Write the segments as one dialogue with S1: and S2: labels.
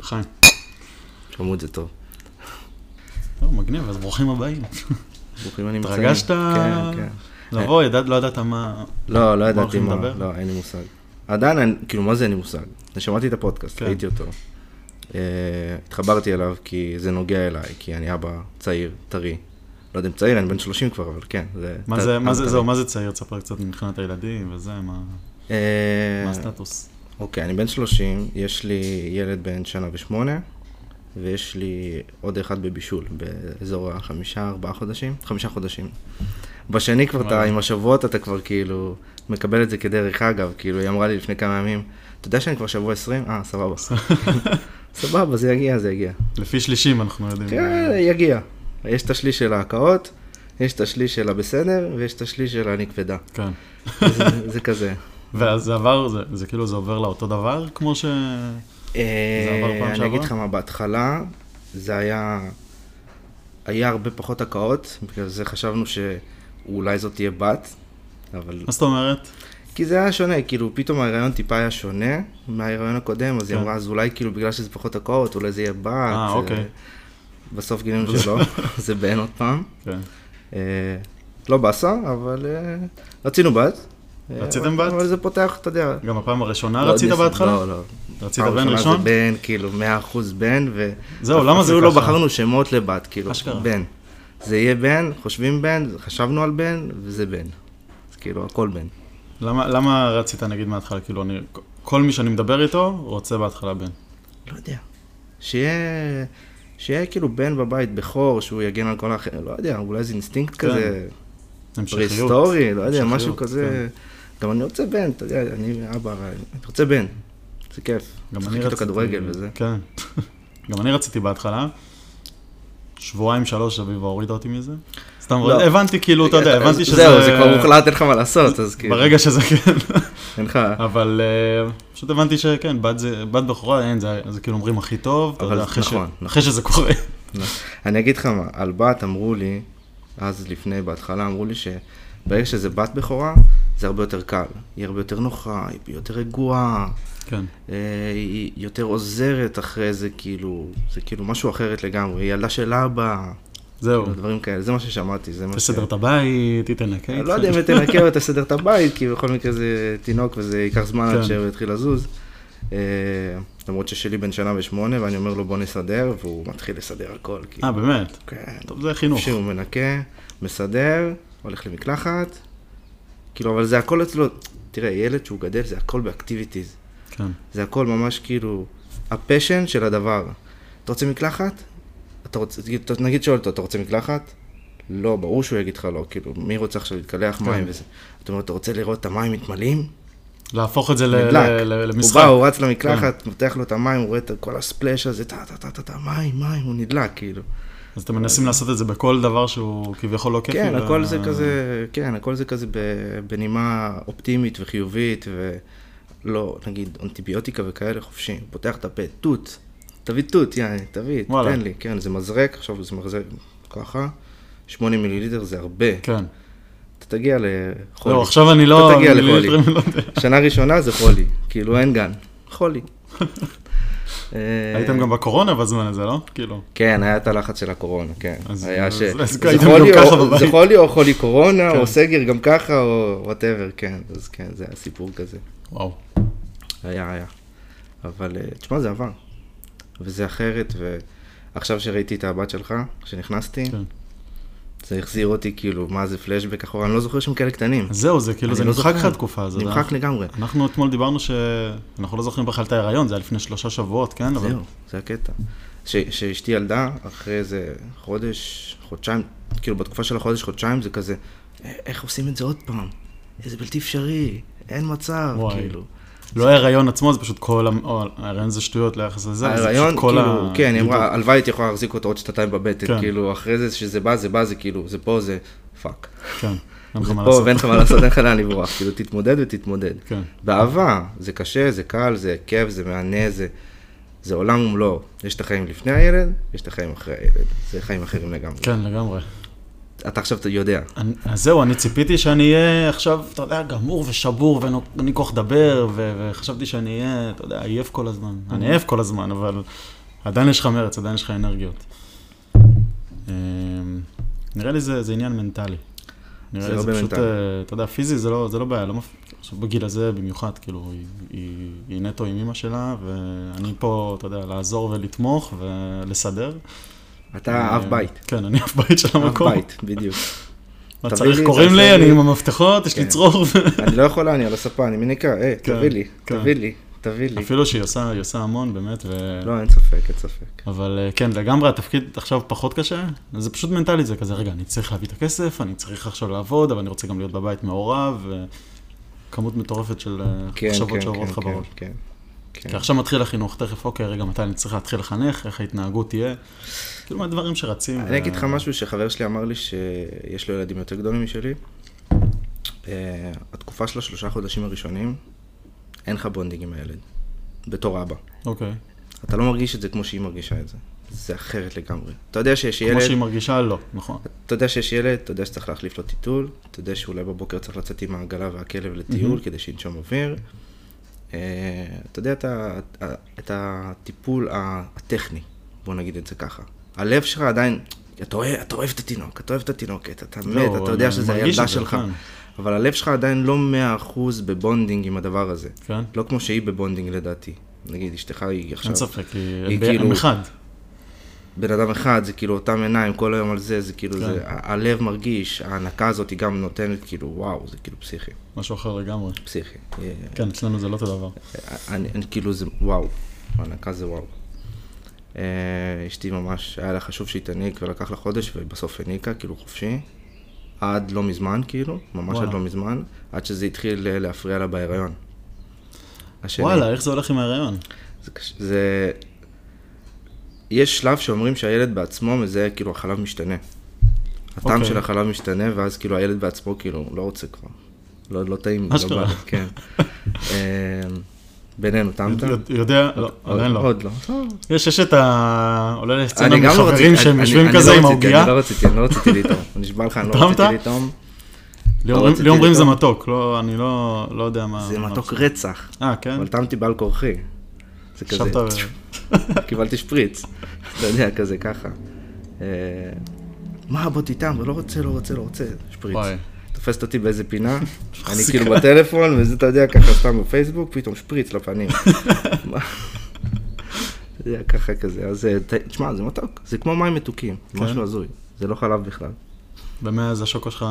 S1: חיים.
S2: חמוד זה טוב.
S1: לא, מגניב, אז ברוכים
S2: אה.
S1: הבאים.
S2: ברוכים הנמצאים.
S1: התרגשת?
S2: כן, כן.
S1: לבוא, ידעת, לא ידעת מה...
S2: לא, לא ידעתי
S1: הולכים
S2: מה,
S1: לדבר?
S2: לא, אין לי מושג. עדיין, אין- כאילו, מה זה אין לי מושג? אני שמעתי את הפודקאסט,
S1: כן.
S2: ראיתי אותו. אה, התחברתי אליו כי זה נוגע אליי, כי אני אבא צעיר, טרי. לא יודע אם צעיר, אני בן 30 כבר, אבל כן.
S1: מה
S2: ט-
S1: זה, מה זה,
S2: טרי.
S1: זהו, מה זה צעיר? תספר קצת מבחינת הילדים וזה, מה
S2: אה,
S1: מה הסטטוס?
S2: אוקיי, אני בן 30, יש לי ילד בן שנה ושמונה, ויש לי עוד אחד בבישול, באזור החמישה, ארבעה חודשים, חמישה חודשים. בשני כבר אתה,
S1: וואלה.
S2: עם השבועות אתה כבר כאילו מקבל את זה כדרך אגב, כאילו היא אמרה לי לפני כמה ימים, אתה יודע שאני כבר שבוע 20? אה, סבבה. סבבה, זה יגיע, זה יגיע.
S1: לפי שלישים אנחנו יודעים.
S2: כן, יגיע. יש את השליש של ההקאות, יש את השליש של הבסדר, ויש את השליש של אני כבדה.
S1: כן.
S2: זה- זה כזה.
S1: ואז זה עבר, זה- זה כאילו זה עובר לאותו דבר כמו ש...
S2: אה,
S1: עבר פעם
S2: אני
S1: שעברה?
S2: אגיד לך מה, בהתחלה זה היה, היה הרבה פחות הקאות, בגלל זה חשבנו שאולי זאת תהיה בת, אבל...
S1: מה זאת אומרת?
S2: כי זה היה שונה, כאילו פתאום ההיריון טיפה היה שונה מההיריון הקודם, אז היא
S1: כן.
S2: אמרה, אז אולי כאילו בגלל שזה פחות הקאות, אולי זה יהיה בת.
S1: אה,
S2: אה,
S1: אוקיי.
S2: בסוף גילינו שלא, זה בן עוד פעם.
S1: כן.
S2: אה, לא באסה, אבל אה, רצינו בת. אה,
S1: רציתם
S2: אבל-
S1: בת?
S2: אבל זה פותח, אתה יודע.
S1: גם הפעם הראשונה
S2: לא,
S1: רצית
S2: ניס-
S1: בהתחלה?
S2: לא, לא.
S1: רצית
S2: פעם
S1: בן
S2: ראשונה
S1: ראשון?
S2: זה בן, כאילו, 100% בן, ו...
S1: זהו, למה זה
S2: אפילו לא
S1: ככה?
S2: בחרנו שמות לבת, כאילו,
S1: אשכרה.
S2: בן. זה יהיה בן, חושבים בן, חשבנו על בן, וזה בן. אז כאילו, הכל בן.
S1: למה- למה רצית נגיד מההתחלה? כאילו, אני- כל מי שאני מדבר איתו רוצה בהתחלה בן.
S2: לא יודע. שיהיה... שיהיה כאילו בן בבית, בכור, שהוא יגן על כל האחרים, לא יודע, אולי זה אינסטינקט
S1: כן.
S2: כזה,
S1: המשכיות.
S2: פרה-היסטורי, לא יודע,
S1: המשכיות,
S2: משהו כזה.
S1: כן.
S2: גם אני רוצה בן, אתה יודע, אני אבא, אני רוצה בן. זה כיף.
S1: גם
S2: משחק
S1: אני
S2: איתו
S1: רציתי...
S2: כדורגל וזה.
S1: כן. גם אני רציתי בהתחלה. שבועיים, שלוש, אביבה הורידה אותי מזה. סתם,
S2: לא.
S1: הבנתי כאילו, אתה יודע, הבנתי שזה...
S2: זהו, זה כבר מוחלט, אין לך מה לעשות, אז כאילו.
S1: ברגע שזה כן,
S2: אין לך...
S1: אבל אה, פשוט הבנתי שכן, בת זה- בת בכורה, אין, זה זה כאילו אומרים הכי טוב, אתה
S2: אבל
S1: יודע, אחרי ש-
S2: נכון, נכון.
S1: אחרי שזה קורה.
S2: לא. אני אגיד לך מה, על בת אמרו לי, אז לפני, בהתחלה אמרו לי שברגע שזה בת בכורה, זה הרבה יותר קל. היא הרבה יותר נוחה, היא יותר רגועה,
S1: כן,
S2: אה, היא יותר עוזרת אחרי זה, כאילו, זה כאילו משהו אחרת לגמרי, היא ילדה של אבא,
S1: זהו.
S2: כאילו, דברים כאלה, זה מה ששמעתי, זה מה ש...
S1: תסדר את הבית, תיתן לה קייט.
S2: אני כן. לא יודע אם תנקה או תסדר את הבית, כי בכל מקרה זה תינוק וזה ייקח זמן עד
S1: כן.
S2: שהוא יתחיל לזוז. אה, למרות ששלי בן שנה ושמונה, ואני אומר לו בוא נסדר, והוא מתחיל לסדר הכל, כאילו.
S1: אה, באמת?
S2: כן.
S1: טוב, זה חינוך.
S2: שהוא מנקה, מסדר, הולך למקלחת, כאילו, אבל זה הכל אצלו, תראה, ילד שהוא גדל זה הכל באקטיביטיז,
S1: כן.
S2: זה הכל ממש כאילו, הפשן של הדבר. אתה רוצה מקלחת? אתה רוצה, תגיד- נגיד שואל אותו, אתה רוצה מקלחת? לא, ברור שהוא יגיד לך לא, כאילו, מי רוצה עכשיו להתקלח
S1: כן.
S2: מים וזה? אתה אומר, אתה רוצה לראות את המים מתמלאים?
S1: להפוך את זה ל-
S2: נדלק.
S1: ל- ל-
S2: הוא
S1: למשחק. כן.
S2: בא, הוא רץ למקלחת, פותח לו את המים, הוא רואה את כל הספלאש הזה, טה טה טה טה טה, מים, מים, הוא נדלק, כאילו.
S1: אז אתם מנסים לעשות את זה בכל דבר שהוא כביכול לא כיפי.
S2: כן,
S1: ו-
S2: הכל זה כזה, כן, הכל זה כזה ב- בנימה אופטימית וחיובית, ולא, נגיד, אנטיביוטיקה וכאלה חופשי, הוא פותח את הפה, תות, תביא תות, יאללה, תביא,
S1: וואלה.
S2: תן לי, כן, זה מזרק, עכשיו זה מזרק ככה, 8 מיליליטר זה הרבה,
S1: כן.
S2: אתה תגיע לחולי,
S1: לא, עכשיו אני לא...
S2: אתה תגיע אה,
S1: אני לא-
S2: לחולי.
S1: אני לא יודע.
S2: שנה ראשונה זה חולי, כאילו אין גן, חולי. אה,
S1: הייתם גם בקורונה בזמן הזה, לא? כאילו.
S2: כן, היה את הלחץ של הקורונה, כן.
S1: אז-
S2: היה
S1: אז-
S2: ש...
S1: אז
S2: זה
S1: הייתם
S2: חולי
S1: גם
S2: או-
S1: ככה בבית.
S2: זה חולי או חולי קורונה,
S1: כן.
S2: או סגר גם ככה, או וואטאבר, כן. אז כן, זה היה סיפור כזה.
S1: וואו.
S2: היה, היה. אבל, אה, תשמע, זה עבר. וזה אחרת, ועכשיו שראיתי את הבת שלך, כשנכנסתי,
S1: כן.
S2: זה החזיר אותי, כאילו, מה זה פלשבק אחורה, אני לא זוכר שהם כאלה קטנים.
S1: אז זהו, זה כאילו,
S2: אני
S1: זה
S2: לא
S1: נמחק לך
S2: זוכר.
S1: התקופה הזאת. אה?
S2: נמחק לגמרי.
S1: אנחנו אתמול דיברנו שאנחנו לא זוכרים בכלל את ההיריון, זה היה לפני שלושה שבועות, כן? אבל-
S2: זהו, זה הקטע. כשאשתי ילדה, אחרי איזה חודש, חודשיים, כאילו בתקופה של החודש, חודשיים, זה כזה, "א- איך עושים את זה עוד פעם? זה בלתי אפשרי, אין מצב,
S1: וואי.
S2: כאילו.
S1: לא ההיריון עצמו, זה פשוט כל... המ- או, ההיריון זה שטויות ליחס לזה, אבל זה
S2: ההיריון,
S1: פשוט כל
S2: כאילו,
S1: ה...
S2: כן, היא אמרה, הלוואי הייתי יכולה להחזיק אותו עוד שנתיים
S1: כן.
S2: בבטן, כאילו, אחרי זה, שזה בא, זה בא, זה כאילו, זה פה, זה פאק.
S1: כן, אין לך
S2: זה
S1: מה
S2: פה,
S1: לעשות.
S2: ואין לך מה לעשות, אין לך לאן לברוח, כאילו, תתמודד ותתמודד.
S1: כן,
S2: באהבה, זה קשה, זה קל, זה כיף, זה מהנה, זה, זה עולם ומלואו. יש את החיים לפני הילד, יש את החיים אחרי הילד. זה חיים אחרים לגמרי.
S1: כן, לגמרי.
S2: אתה עכשיו אתה יודע.
S1: אני- אז זהו, אני ציפיתי שאני אהיה עכשיו, אתה יודע, גמור ושבור, ואין לי כוח לדבר, ו- וחשבתי שאני אהיה, אתה יודע, עייף כל הזמן. אני עייף כל הזמן, אבל עדיין יש לך מרץ, עדיין יש לך אנרגיות. אה, נראה לי זה, זה עניין מנטלי. נראה
S2: זה לא
S1: לי זה
S2: הרבה
S1: פשוט,
S2: מנטלי.
S1: אה, אתה יודע, פיזי זה לא, זה לא בעיה, לא מפ... עכשיו בגיל הזה במיוחד, כאילו, היא, היא, היא נטו עם אמא שלה, ואני פה, אתה יודע, לעזור ולתמוך ולסדר.
S2: אתה אב
S1: אה,
S2: בית.
S1: כן, אני אב בית של
S2: אב
S1: המקום.
S2: בית, בדיוק.
S1: מה
S2: תביא
S1: צריך,
S2: לי,
S1: קוראים
S2: תעשה
S1: לי, אני
S2: לי.
S1: עם המפתחות, יש לי
S2: כן.
S1: צרור.
S2: אני לא יכול אני על הספה, אני מניקה, היי,
S1: כן,
S2: תביא לי,
S1: כן.
S2: תביא לי, תביא לי.
S1: אפילו שהיא עושה, היא עושה המון, באמת, ו...
S2: לא, אין ספק, אין ספק.
S1: אבל אה, כן, לגמרי התפקיד עכשיו פחות קשה, זה פשוט מנטלית, זה כזה, רגע, אני צריך להביא את הכסף, אני צריך עכשיו לעבוד, אבל אני רוצה גם להיות בבית מעורב, וכמות מטורפת של אה,
S2: כן,
S1: מחשבות
S2: כן,
S1: שעוברות לך
S2: כן,
S1: בראש.
S2: כן, כן, כן.
S1: כי עכשיו מתחיל החינוך, תכף, אוקיי, רגע, מתי אני צריך להתחיל לחנך, איך ההתנהגות תהיה, כאילו מהדברים שרצים.
S2: אני
S1: ו-
S2: אגיד לך משהו שחבר שלי אמר לי שיש לו ילדים יותר גדולים משלי. אה, התקופה של השלושה חודשים הראשונים, אין לך בונדינג עם הילד. בתור אבא.
S1: אוקיי,
S2: אתה לא מרגיש את זה כמו שהיא מרגישה את זה. זה אחרת לגמרי. אתה יודע שיש
S1: כמו
S2: ילד,
S1: שהיא מרגישה, לא, נכון.
S2: אתה יודע שיש ילד, אתה יודע שצריך להחליף לו טיטול, אתה יודע שאולי בבוקר צריך לצאת עם העגלה והכלב לטיול
S1: Mhm.
S2: כדי שינשום אוויר. אה, אתה יודע את ה- את הטיפול ה- הטכני, בוא נגיד את זה ככה. הלב שלך עדיין, אתה אוהב- אתה אוהב את התינוק, אתה אוהב את התינוקת, אתה
S1: לא,
S2: מת, אתה יודע
S1: אני
S2: שזה
S1: מרגיש את
S2: הילדה
S1: זה,
S2: שלך,
S1: כן.
S2: אבל הלב שלך עדיין לא 100% בבונדינג עם הדבר הזה.
S1: כן?
S2: לא כמו שהיא בבונדינג לדעתי. נגיד, אשתך היא
S1: אין
S2: עכשיו
S1: ספק, כי
S2: היא
S1: הם- הם
S2: כאילו-
S1: אחד.
S2: בן אדם אחד, זה כאילו אותם עיניים כל היום על זה, זה כאילו,
S1: כן.
S2: זה, ה- הלב מרגיש, ההנקה הזאת היא גם נותנת כאילו, וואו, זה כאילו פסיכי,
S1: משהו אחר לגמרי.
S2: פסיכי. אה,
S1: כן, אצלנו זה לא אותו דבר.
S2: אני, אני כאילו, זה וואו, ההנקה זה וואו. אה, אשתי ממש, היה לה חשוב שהיא תעניק ולקח לה חודש ובסוף הניקה, כאילו חופשי. עד לא מזמן, כאילו, ממש
S1: וואלה.
S2: עד לא מזמן, עד שזה התחיל אה, להפריע לה בהיריון. השני.
S1: וואלה, איך זה הולך עם ההיריון?
S2: זה, קש- זה... יש שלב שאומרים שהילד בעצמו מזהה, כאילו החלב משתנה. הטעם
S1: אוקיי.
S2: של החלב משתנה, ואז כאילו הילד בעצמו כאילו לא רוצה כבר. לא, לא טעים, לי, לא
S1: אשכרה.
S2: בא לי, כן. אה, בינינו, טעמת?
S1: יודע, לא,
S2: עוד-
S1: עדיין לא.
S2: עוד לא.
S1: יש, יש את ה... עולה לסצנה
S2: אני גם לא
S1: מחברים
S2: רציתי,
S1: שהם
S2: אני-
S1: יושבים
S2: אני-
S1: כזה
S2: אני
S1: עם
S2: לא רציתי,
S1: העוגיה.
S2: אני לא רציתי, אני לא רציתי לטעום. נשבע לך, אני לא
S1: טעמת?
S2: רציתי לטעום.
S1: לי אומרים-
S2: רציתי
S1: לי אומרים זה
S2: לטעום.
S1: מתוק, לא, אני לא לא יודע מה...
S2: זה
S1: מה-
S2: מתוק רצח.
S1: אה, כן?
S2: אבל טעמתי בעל כורחי. זה כזה.
S1: עכשיו אתה...
S2: קיבלתי שפריץ, אתה יודע, כזה ככה. אה, מה, בוא תטעם, לא רוצה, לא רוצה, לא רוצה, שפריץ.
S1: וואי.
S2: תופסת אותי באיזה פינה, אני
S1: מחזיקה.
S2: כאילו בטלפון, וזה, אתה יודע, ככה סתם בפייסבוק, פתאום שפריץ לפנים. מה? אתה יודע, ככה כזה, אז אה, ת- תשמע, זה מתוק, זה כמו מים מתוקים,
S1: כן.
S2: משהו הזוי, זה לא חלב בכלל.
S1: במה אז השוקו שלך...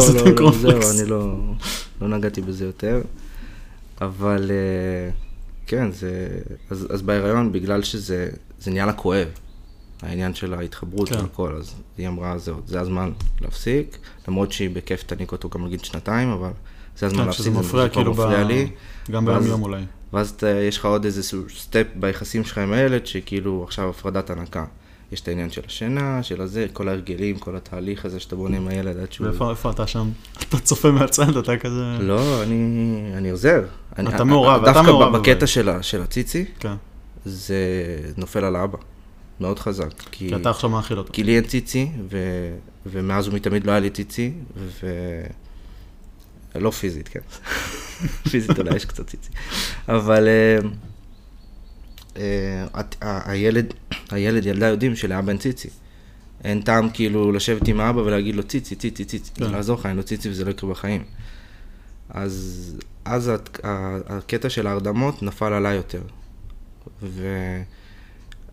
S1: זה
S2: לא,
S1: טים
S2: לא, זהו,
S1: קורנפלקס.
S2: אני לא, לא נגעתי בזה יותר. אבל אה, כן, זה... אז, אז בהיריון, בגלל שזה זה נהיה לה כואב, העניין של ההתחברות
S1: כן.
S2: והכל, אז היא אמרה, זהו, זה הזמן להפסיק, למרות שהיא בכיף תעניק אותו גם לגיל שנתיים, אבל זה הזמן
S1: כן,
S2: להפסיק,
S1: שזה מפריע
S2: זה כבר
S1: כאילו ב...
S2: מפריע לי.
S1: גם
S2: ואז-
S1: ביום יום אולי.
S2: ואז אתה, יש לך עוד איזה סו- סטפ ביחסים שלך עם הילד, שכאילו עכשיו הפרדת הנקה. יש את העניין של השינה, של הזה, כל ההרגלים, כל התהליך הזה שאתה בונה עם הילד עד שהוא...
S1: ואיפה איפה אתה שם? אתה צופה מהצד, אתה כזה...
S2: לא, אני, אני עוזר. אני,
S1: אה. אתה מעורב, אתה
S2: דווקא
S1: מעורב,
S2: ב- בקטע
S1: אבל.
S2: של, ה- של הציצי,
S1: כן.
S2: זה נופל על האבא. מאוד חזק. כי,
S1: כי אתה עכשיו מאכיל אותו.
S2: כי לי אין ציצי, ו, ומאז ומתמיד לא היה לי ציצי, ו... לא פיזית, כן. פיזית אולי יש קצת ציצי. אבל אה, אה, הת- ה- הילד, הילד, ילדה יודעים שלאבא אין ציצי. אין טעם כאילו לשבת עם האבא ולהגיד לו ציצי, ציצי, ציצי,
S1: כן.
S2: זה לעזור לך, אין לו ציצי וזה לא יקרה בחיים. אז, אז הת- ה- הקטע של ההרדמות נפל עליי יותר.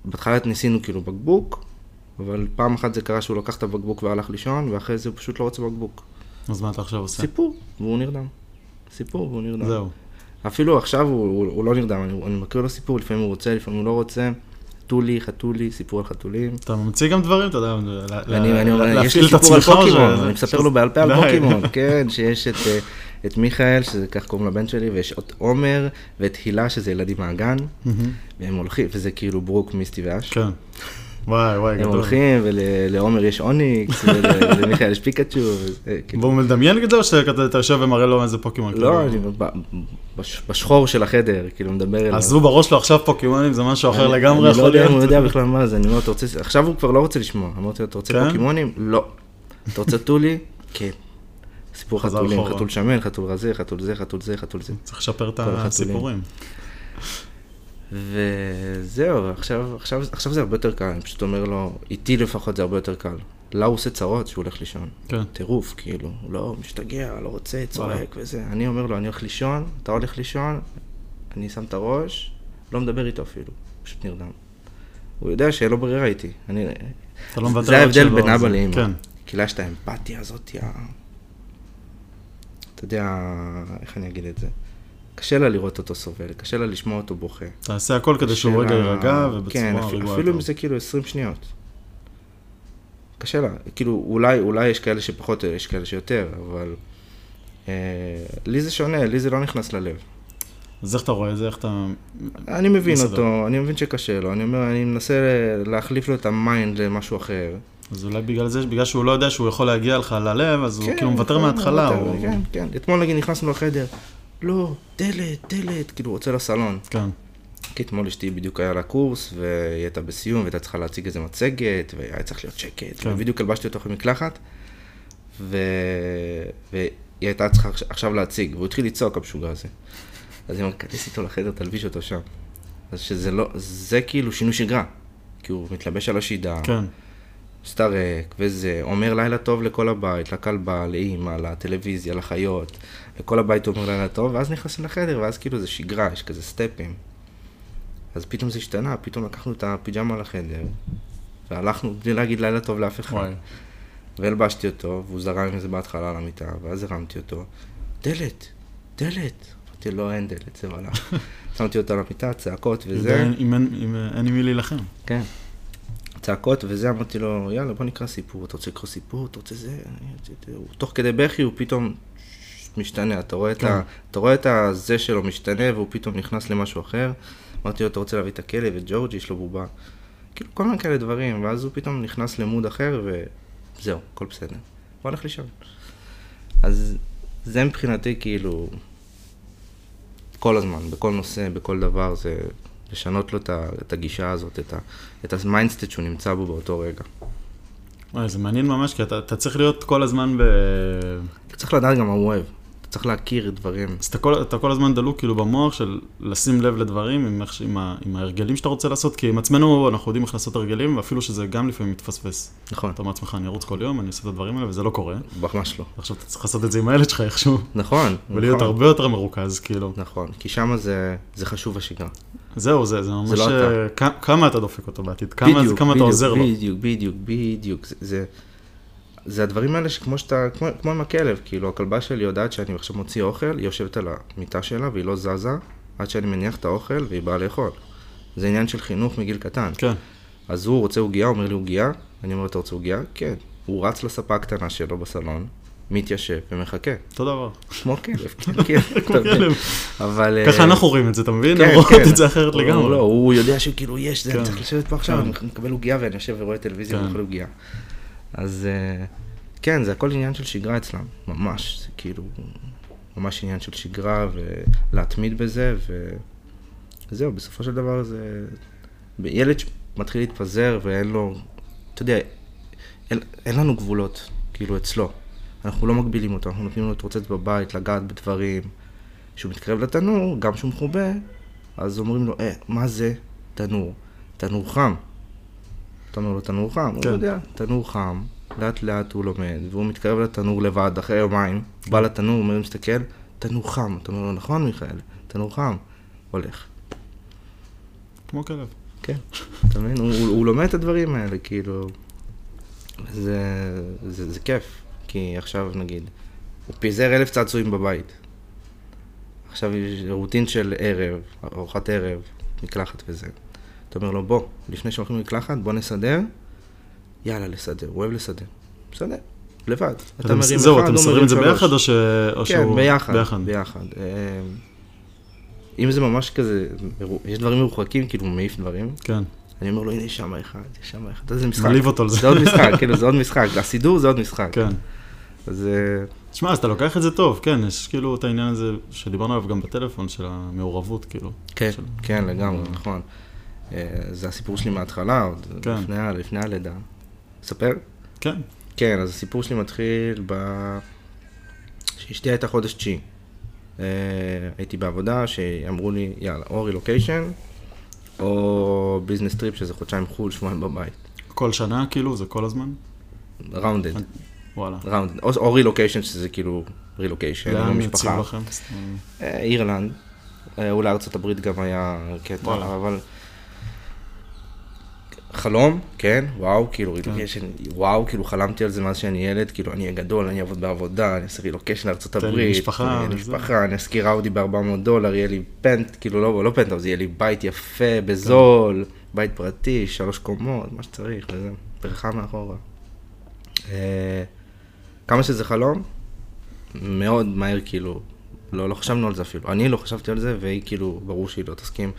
S2: ובהתחלה ניסינו כאילו בקבוק, אבל פעם אחת זה קרה שהוא לקח את הבקבוק והלך לישון, ואחרי זה הוא פשוט לא רוצה בקבוק.
S1: אז מה אתה עכשיו עושה?
S2: סיפור, והוא נרדם. סיפור, והוא נרדם.
S1: זהו.
S2: אפילו עכשיו הוא, הוא, הוא לא נרדם, אני, אני מכיר לו סיפור, לפעמים הוא רוצה, לפעמים הוא לא רוצה. חתולי, חתולי, סיפור על חתולים.
S1: אתה ממציא גם דברים, אתה יודע, ל- ל-
S2: אני, אני,
S1: ל-
S2: אומר, יש לי
S1: להפעיל את
S2: סיפור על
S1: עצמך.
S2: פוקימון,
S1: ש-
S2: אני מספר לו בעל פה על
S1: די.
S2: פוקימון, כן, שיש את, אה, את מיכאל, שזה כך קוראים לבן שלי, ויש את עומר, ואת הילה, שזה ילדים מהגן,
S1: מהמם.
S2: והם הולכים, וזה כאילו ברוק, מיסטי ואש.
S1: כן. וואי, וואי,
S2: הם
S1: גדול.
S2: הולכים, ולעומר יש אוניקס, ולמיכאל יש פיקאצ'ו, וזה, כאילו.
S1: והוא מדמיין את זה, או שאתה אתה יושב ומראה לו איזה פוקימון? כאילו?
S2: לא, אני ב- בש- בשחור של החדר, כאילו מדבר אליו.
S1: אז הוא בראש לו עכשיו פוקימונים זה משהו אחר
S2: אני-
S1: לגמרי,
S2: אני לא
S1: יכול
S2: יודע אם הוא
S1: להיות.
S2: יודע בכלל מה זה, אני אומר, אתה רוצה... עכשיו הוא כבר לא רוצה לשמוע. אמרתי לו, אתה רוצה
S1: כן?
S2: פוקימונים? לא. אתה רוצה טולי? כן. סיפור
S1: חזר
S2: חתולים,
S1: אחורה.
S2: חתול שמן, חתול רזה, חתול זה, חתול זה, חתול זה.
S1: צריך לשפר את
S2: כל החתולים.
S1: הסיפורים.
S2: וזהו, עכשיו, עכשיו, עכשיו זה הרבה יותר קל, אני פשוט אומר לו, איתי לפחות זה הרבה יותר קל. לה הוא עושה צרות שהוא הולך לישון.
S1: כן.
S2: טירוף, כאילו, הוא לא, משתגע, לא רוצה,
S1: וואלה.
S2: צועק וזה. אני אומר לו, אני הולך לישון, אתה הולך לישון, אני שם את הראש, לא מדבר איתו אפילו, פשוט נרדם. הוא יודע שאין לו ברירה איתי. אני...
S1: אתה לא מוותר
S2: זה
S1: על
S2: ההבדל
S1: שלו,
S2: בין
S1: אז-
S2: אבא לאמא.
S1: כן,
S2: כאילו יש את האמפתיה הזאת, ה... אתה יודע, איך אני אגיד את זה? קשה לה לראות אותו סובל, קשה לה לשמוע אותו בוכה.
S1: תעשה הכל כדי שהוא
S2: קשה
S1: רגע
S2: לה-
S1: יירגע ובצורה
S2: כן,
S1: רגועה.
S2: אפילו, אפילו אם
S1: יותר.
S2: זה כאילו 20 שניות. קשה לה, כאילו אולי, אולי יש כאלה שפחות, יש כאלה שיותר, אבל אה, לי זה שונה, לי זה לא נכנס ללב.
S1: אז איך אתה רואה את זה? איך אתה...
S2: אני מבין
S1: בסדר.
S2: אותו, אני מבין שקשה לו, אני אומר, אני מנסה להחליף לו את המיינד למשהו אחר.
S1: אז אולי בגלל זה, בגלל שהוא לא יודע שהוא יכול להגיע לך ללב, אז הוא
S2: כן,
S1: כאילו מוותר
S2: כן,
S1: מההתחלה.
S2: מוותר,
S1: הוא-
S2: כן, כן. אתמול נגיד נכנסנו לחדר, לא, דלת, דלת, כאילו הוא רוצה לסלון.
S1: כן,
S2: כי אתמול אשתי בדיוק היה לה קורס, והיא הייתה בסיום, והייתה צריכה להציג איזה מצגת, והיה צריך להיות שקט,
S1: כן.
S2: כן. ובדיוק הלבשתי אותך במקלחת, ו... והיא הייתה צריכה עכש- עכשיו להציג, והוא התחיל לצעוק, המשוגע הזה. אז היא אמרת, כניס איתו לחדר, תלביש אותו שם. אז שזה לא, זה כאילו שינוי שגרה. כי הוא מתלבש על השידה,
S1: כן,
S2: מסתרק, וזה, אומר לילה טוב לכל הבית, לכלבה, לאימא, לטלוויזיה, לחיות, לכל הבית הוא אומר לילה טוב, ואז נכנסים לחדר, ואז כאילו זה שגרה, יש כזה סטפים. אז פתאום זה השתנה, פתאום לקחנו את הפיג'מה לחדר, והלכנו בלי להגיד לילה טוב לאף אחד.
S1: וואי.
S2: והלבשתי אותו, והוא זרם עם זה בהתחלה על המיטה, ואז הרמתי אותו, דלת, דלת. אמרתי, לא, אין דלת, זה וואלה. שמתי אותו על המיטה, צעקות וזה.
S1: יודע, אם אין- אם אין עם מי להילחם.
S2: כן. צעקות וזה, אמרתי לו, יאללה, בוא נקרא סיפור, אתה רוצה לקרוא סיפור, אתה רוצה זה, אני רוצה- הוא- תוך כדי בכי הוא פתאום משתנה, אתה רואה את ה- אתה רואה את הזה שלו משתנה, והוא פתאום נכנס למשהו אחר. אמרתי לו, אתה רוצה להביא את הכלב, את ג'ורג'י, יש לו בובה. כאילו, כל מיני כאלה דברים, ואז הוא פתאום נכנס למוד אחר, וזהו, הכל בסדר. בוא נלך לישון. אז זה מבחינתי, כאילו, כל הזמן, בכל נושא, בכל דבר, זה לשנות לו את ה- את הגישה הזאת, את ה- את המיינדסטט שהוא נמצא בו באותו רגע.
S1: וואי, זה מעניין ממש, כי אתה אתה צריך להיות כל הזמן ב...
S2: אתה צריך לדעת גם מה הוא אוהב, אתה צריך להכיר דברים.
S1: אז אתה כל, אתה כל הזמן דלוק כאילו במוח של לשים לב לדברים, עם, איך- עם, ה, עם ההרגלים שאתה רוצה לעשות, כי עם עצמנו אנחנו יודעים איך לעשות הרגלים, ואפילו שזה גם לפעמים מתפספס.
S2: נכון,
S1: אתה אומר לעצמך, אני ארוץ כל יום, אני עושה את הדברים האלה, וזה לא קורה.
S2: ממש לא.
S1: עכשיו אתה צריך לעשות את זה עם הילד שלך איכשהו,
S2: נכון,
S1: ולהיות
S2: נכון.
S1: הרבה יותר מרוכז, כאילו.
S2: נכון, כי שמה זה, זה חשוב השגרה.
S1: זהו, זה, זה ממש...
S2: לא אתה.
S1: אה, כ- כמה אתה דופק אותו בעתיד, כמה, זה- כמה אתה עוזר לו.
S2: בדיוק, בדיוק, בדיוק. זה, זה, זה הדברים האלה שכמו שאתה, כמו, כמו עם הכלב, כאילו, הכלבה שלי יודעת שאני עכשיו מוציא אוכל, היא יושבת על המיטה שלה והיא לא זזה עד שאני מניח את האוכל והיא באה לאכול. זה עניין של חינוך מגיל קטן.
S1: כן,
S2: אז הוא רוצה עוגייה, אומר לי עוגייה, אני אומר, אתה רוצה עוגייה? כן. הוא רץ לספה הקטנה שלו בסלון, מתיישב ומחכה.
S1: אותו דבר.
S2: כמו כלב, כן, כן, אתה מבין.
S1: כלב.
S2: אבל... אה,
S1: ככה אנחנו רואים את זה, אתה מבין?
S2: כן,
S1: הם רואות
S2: כן.
S1: את זה אחרת
S2: הוא-
S1: לגמרי.
S2: לא, הוא יודע שכאילו יש, זה,
S1: כן.
S2: אני צריך לשבת פה עכשיו,
S1: כן.
S2: אני מקבל עוגיה ואני יושב ורואה טלוויזיה
S1: כן.
S2: ואוכל עוגיה. אז אה, כן, זה הכל עניין של שגרה אצלם, ממש, זה כאילו, ממש עניין של שגרה ולהתמיד בזה, וזהו, בסופו של דבר זה... ילד שמתחיל להתפזר ואין לו, אתה יודע, אין, אין לנו גבולות, כאילו, אצלו. אנחנו לא מגבילים אותו, אנחנו נותנים לו להתרוצץ בבית, לגעת בדברים. כשהוא מתקרב לתנור, גם כשהוא מחובה, אז אומרים לו, אה, מה זה תנור? תנור חם. אתה אומר לו, תנור חם,
S1: כן.
S2: הוא יודע, תנור חם, לאט לאט הוא לומד, והוא מתקרב לתנור לבד אחרי יומיים, בא לתנור, אומר, מסתכל, תנור חם. אתה אומר לו, נכון, מיכאל, תנור חם. הולך.
S1: כמו כלב.
S2: כן, אתה מבין? הוא, הוא, הוא לומד את הדברים האלה, כאילו... זה, זה, זה כיף, כי עכשיו נגיד, הוא פיזר אלף צעצועים בבית. עכשיו יש רוטין של ערב, ארוחת ערב, מקלחת וזה. אתה אומר לו, בוא, לפני שהולכים למקלחת, בוא נסדר, יאללה, לסדר, הוא אוהב לסדר. מסדר, לבד. אתה
S1: אתם-
S2: מרים
S1: זהו,
S2: אחד,
S1: אתם
S2: הוא
S1: מסדרים
S2: מרים
S1: את זה
S2: שלוש.
S1: ביחד או ש- או שהוא...
S2: כן, ביחד,
S1: ביחד.
S2: ביחד. ביחד. אה, אם זה ממש כזה, מרו- יש דברים מרוחקים, כאילו הוא מעיף דברים,
S1: כן,
S2: אני אומר לו, הנה, יש שם אחד, יש שם אחד, אתה יודע, זה משחק.
S1: מעליב אותו על זה.
S2: זה עוד משחק, כאילו, זה עוד משחק. הסידור זה עוד משחק.
S1: כן.
S2: אז אה,
S1: תשמע, אז אתה לוקח את זה טוב, כן, יש כאילו את העניין הזה שדיברנו עליו גם בטלפון, של המעורבות, כאילו.
S2: כן,
S1: של-
S2: כן, לגמרי, נכון. אה, זה הסיפור שלי מההתחלה, עוד
S1: כן.
S2: לפני ה- לפני הלידה. ספר?
S1: כן,
S2: כן, אז הסיפור שלי מתחיל ב... שאשתי הייתה חודש תשיעי. אה, הייתי בעבודה, שאמרו לי, יאללה, או רילוקיישן, או ביזנס טריפ שזה חודשיים חו"ל, שבועיים בבית.
S1: כל שנה כאילו? זה כל הזמן?
S2: ראונדד,
S1: אוקיי. וואלה.
S2: ראונדד. או- או רילוקיישן שזה כאילו רילוקיישן, עם
S1: לאן יציעו
S2: המשפחה.
S1: לכם? סתם.
S2: אה, אירלנד, אה, אולי ארצות הברית גם היה
S1: וואלה.
S2: קטע, אבל... חלום, כן, וואו, כאילו רילוקיישן, וואו, כאילו חלמתי על זה מאז שאני ילד, כאילו אני אהיה גדול, אני אעבוד בעבודה, אני אעשה רילוקיישן לארצות
S1: לי
S2: הברית,
S1: משפחה
S2: אני אהיה לי
S1: וזה.
S2: משפחה, אני אשכיר אאודי ב-400 דולר, יהיה לי פנט, כאילו לא, לא פנט, אבל יהיה לי בית יפה, בזול, בית פרטי, שלוש קומות, מה שצריך, וזה, פרחה מאחורה. אה, כמה שזה חלום, מאוד מהר כאילו, לא, לא חשבנו על זה אפילו. אני לא חשבתי על זה, והיא כאילו, ברור שהיא לא תסכים,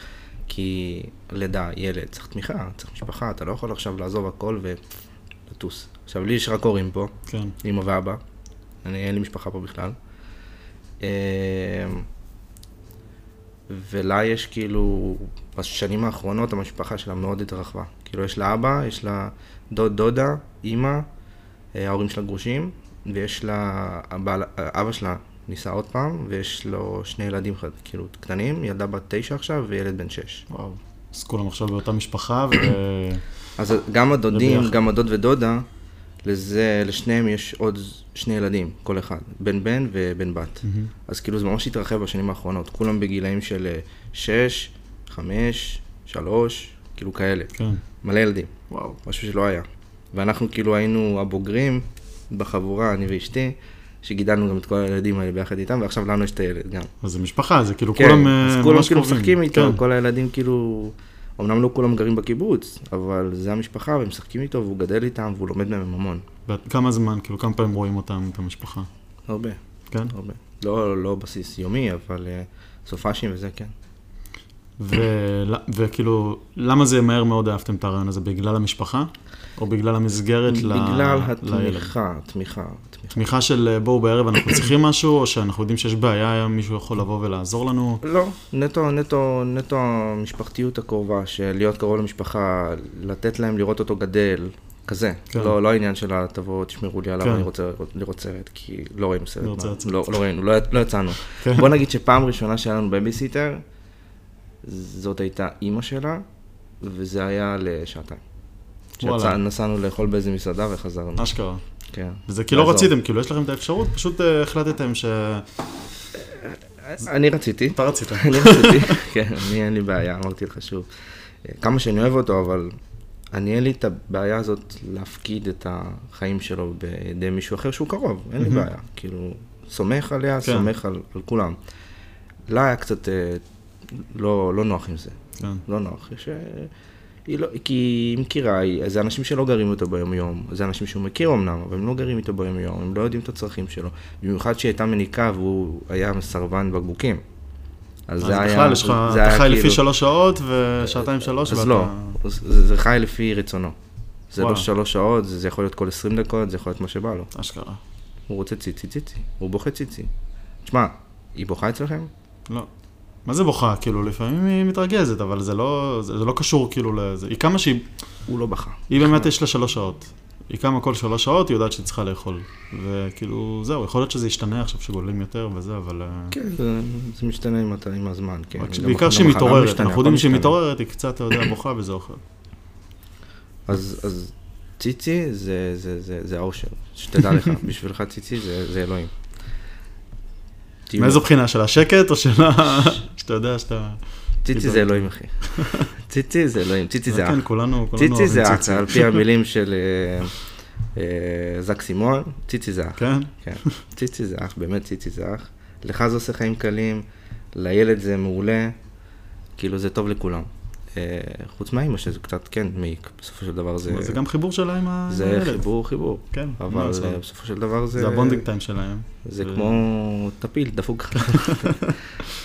S2: כי לידה, ילד, צריך תמיכה, צריך משפחה, אתה לא יכול עכשיו לעזוב הכל ולטוס. עכשיו, לי יש רק הורים פה,
S1: כן.
S2: אמא ואבא, אני, אין לי משפחה פה בכלל. אמ, ולה יש כאילו, בשנים האחרונות המשפחה שלה מאוד התרחבה. כאילו, יש לה אבא, יש לה דוד, דודה, אימא, אה, ההורים שלה גרושים, ויש לה, הבעל, אבא שלה נישא עוד פעם, ויש לו שני ילדים חד- כאילו קטנים, ילדה בת תשע עכשיו וילד בן שש.
S1: וואו. אז כולם עכשיו באותה משפחה, ו...
S2: אז גם הדודים,
S1: וביחד.
S2: גם הדוד ודודה, לזה, לשניהם יש עוד שני ילדים, כל אחד, בן בן ובן בת. אז כאילו זה ממש התרחב בשנים האחרונות, כולם בגילאים של אה, שש, חמש, שלוש, כאילו כאלה,
S1: כן.
S2: מלא ילדים,
S1: וואו.
S2: משהו שלא היה. ואנחנו כאילו היינו הבוגרים בחבורה, אני ואשתי, שגידלנו גם את כל הילדים האלה ביחד איתם, ועכשיו לנו יש את הילד גם.
S1: אז זה משפחה, זה כאילו
S2: כן,
S1: כולם אה,
S2: אז
S1: ממש
S2: כולם כאילו
S1: קרובים.
S2: משחקים איתו,
S1: כן.
S2: כל הילדים כאילו, אמנם לא כולם גרים בקיבוץ, אבל זה המשפחה, והם משחקים איתו, והוא גדל איתם, והוא לומד מהם המון.
S1: ואת- כמה זמן, כאילו כמה פעמים רואים אותם, את המשפחה,
S2: הרבה,
S1: כן?
S2: הרבה. לא, לא בסיס יומי, אבל אה, סופאשים וזה, כן.
S1: ול- וכאילו, למה זה מהר מאוד אהבתם את הרעיון הזה? בגלל המשפחה? או בגלל המסגרת ל- לילד?
S2: בגלל התמיכה, תמיכה, תמיכה.
S1: תמיכה של אה, בואו בערב אנחנו צריכים משהו, או שאנחנו יודעים שיש בעיה, מישהו יכול לבוא ולעזור לנו?
S2: לא, נטו, נטו, נטו המשפחתיות הקרובה, של להיות קרוב למשפחה, לתת להם לראות אותו גדל, כזה.
S1: כן.
S2: לא, לא העניין של ה- תבואו, תשמרו לי עליו,
S1: כן.
S2: אני רוצה לראות- לראות סרט, כי לא ראינו סרט.
S1: לא רוצה
S2: מה-
S1: לצאת.
S2: לא לא ראינו, לא לא יצאנו.
S1: כן.
S2: בוא נגיד שפעם ראשונה שהיה לנו בייביסיטר, זאת הייתה אימא שלה, וזה היה לשעתיים.
S1: וואלה. אה.
S2: שיצא- נסענו לאכול באיזה מסעדה וחזרנו.
S1: אשכרה.
S2: כן.
S1: וזה כי לא
S2: לעזור.
S1: רציתם, כאילו, יש לכם את האפשרות, פשוט אה, החלטתם ש...
S2: אני רציתי.
S1: אתה רצית.
S2: אני רציתי, כן, אני אין לי בעיה, אמרתי לך שוב. אה, כמה שאני אוהב אותו, אבל אני אין לי את הבעיה הזאת להפקיד את החיים שלו בידי מישהו אחר שהוא קרוב, אין לי בעיה. כאילו, סומך עליה,
S1: כן.
S2: סומך על על כולם. לה היה קצת אה, לא לא נוח עם זה,
S1: כן.
S2: לא נוח. ש... היא לא, כי היא מכירה, היא- זה אנשים שלא גרים איתו ביום-יום, זה אנשים שהוא מכיר אמנם, אבל הם לא גרים איתו ביום-יום, הם לא יודעים את הצרכים שלו. במיוחד שהיא הייתה מניקה והוא היה סרבן בקבוקים. אז
S1: אז
S2: זה היה...
S1: בכלל, יש לך,
S2: זה
S1: אתה
S2: היה
S1: חי לפי
S2: כאילו-
S1: שלוש שעות ושעתיים שלוש,
S2: אז
S1: ואתה-
S2: לא, זה, זה חי לפי רצונו. זה
S1: וואלה.
S2: לא שלוש שעות, זה, זה יכול להיות כל 20 דקות, זה יכול להיות מה שבא לו.
S1: אשכרה.
S2: הוא רוצה ציצי ציצי, הוא בוכה ציצי. תשמע, היא בוכה אצלכם?
S1: לא. מה זה בוכה? כאילו, לפעמים היא מתרגזת, אבל זה לא, זה, זה לא קשור כאילו לזה. היא קמה שהיא,
S2: הוא לא בכה.
S1: היא באמת יש לה שלוש שעות. היא קמה כל שלוש שעות, היא יודעת שהיא צריכה לאכול. וכאילו, זהו, יכול להיות שזה ישתנה עכשיו שגולים יותר וזה, אבל... אה,
S2: כן, זה, זה משתנה עם, הת- עם הזמן, כן.
S1: רק ש-
S2: גם-
S1: בעיקר
S2: גם
S1: שהיא
S2: החלום
S1: מתעוררת,
S2: משתנה,
S1: אנחנו
S2: הכל
S1: יודעים שהיא
S2: משתנה.
S1: מתעוררת, היא קצת, אתה יודע, בוכה וזה אוכל.
S2: אז, אז ציצי זה, זה, זה, זה האושר, שתדע לך, בשבילך ציצי זה, זה אלוהים. תהיו-
S1: מאיזו בחינה? של השקט או של ה... שאתה יודע שאתה...
S2: ציצי זה אלוהים, אחי. ציצי זה אלוהים, ציצי זה אח.
S1: כן, כולנו, כולנו
S2: ציצי
S1: אוהבים
S2: זה אח,
S1: ציצי.
S2: על פי המילים של אה, אה, זק סימון, ציצי זה אח.
S1: כן?
S2: כן, ציצי זה אח, באמת ציצי זה אח. לך זה עושה חיים קלים, לילד זה מעולה, כאילו זה טוב לכולם. אה, חוץ מהאימא שזה קצת כן מעיק, בסופו של דבר זה...
S1: אבל זה גם חיבור שלה עם ה-
S2: זה
S1: עם הילד.
S2: חיבור, חיבור.
S1: כן, מה
S2: אבל
S1: לעשות?
S2: אה, בסופו של דבר זה...
S1: זה הבונדינג טיים שלהם.
S2: זה
S1: ו-
S2: כמו טפיל, דפוק.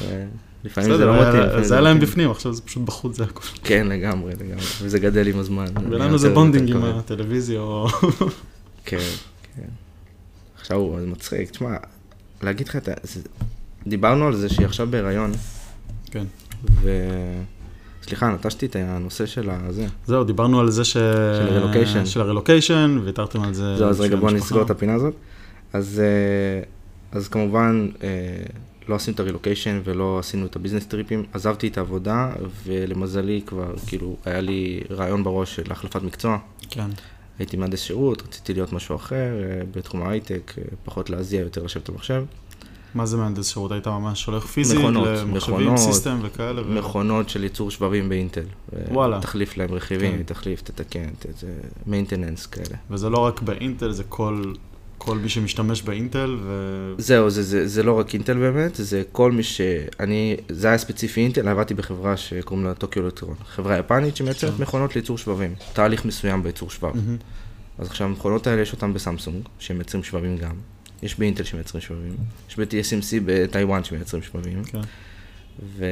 S2: אה, לפעמים זה
S1: בסדר,
S2: לא
S1: היה-
S2: מתאים. לפעמים
S1: זה היה להם
S2: מתאים.
S1: בפנים, עכשיו זה פשוט בחוץ, זה הכול.
S2: כן, לגמרי, לגמרי. וזה גדל עם הזמן.
S1: ולנו זה
S2: יותר-
S1: בונדינג
S2: יותר
S1: עם
S2: כואב.
S1: הטלוויזיה, או...
S2: כן, כן. עכשיו הוא זה מצחיק. תשמע, להגיד לך את ה... זה- דיברנו על זה שהיא עכשיו בהיריון,
S1: כן.
S2: ו... סליחה, נטשתי את הנושא של הזה.
S1: זהו, דיברנו על זה ש...
S2: של הרילוקיישן.
S1: של הרילוקיישן, והתרתם על זה.
S2: זהו, לא, אז רגע,
S1: בשביל
S2: בוא
S1: המשפחה.
S2: נסגור את הפינה הזאת. אז, אה, אז כמובן, אה, לא עשינו את הרילוקיישן ולא עשינו את הביזנס טריפים, עזבתי את העבודה, ולמזלי כבר, כאילו, היה לי רעיון בראש של החלפת מקצוע.
S1: כן.
S2: הייתי מהנדס שירות, רציתי להיות משהו אחר, אה, בתחום ההייטק, אה, פחות להזיע, יותר לשבת על מחשב.
S1: מה זה מהנדס שירות? היית ממש הולך פיזית
S2: מכונות,
S1: למחשבים,
S2: מכונות,
S1: סיסטם וכאלה? ו-
S2: מכונות של ייצור שבבים באינטל. ו-
S1: וואלה.
S2: תחליף להם רכיבים,
S1: כן.
S2: תחליף, תתקן, איזה מיינטננס כאלה.
S1: וזה לא רק באינטל, זה כל, כל מי שמשתמש באינטל, ו...
S2: זהו, זה, זה, זה לא רק אינטל באמת, זה כל מי ש... אני, זה היה ספציפי אינטל, עבדתי בחברה שקוראים לה טוקיו אלקטרון. חברה יפנית שמייצרת
S1: כן.
S2: מכונות לייצור שבבים. תהליך מסוים בייצור שבב.
S1: מהמם.
S2: אז עכשיו המכונות האלה יש אותן בסמסונג, שמייצרים שבבים גם. יש באינטל שמייצרים שבבים. יש ב-TSMC בטיוואן שמייצרים שבבים.
S1: Mm-hmm. כן.
S2: ו...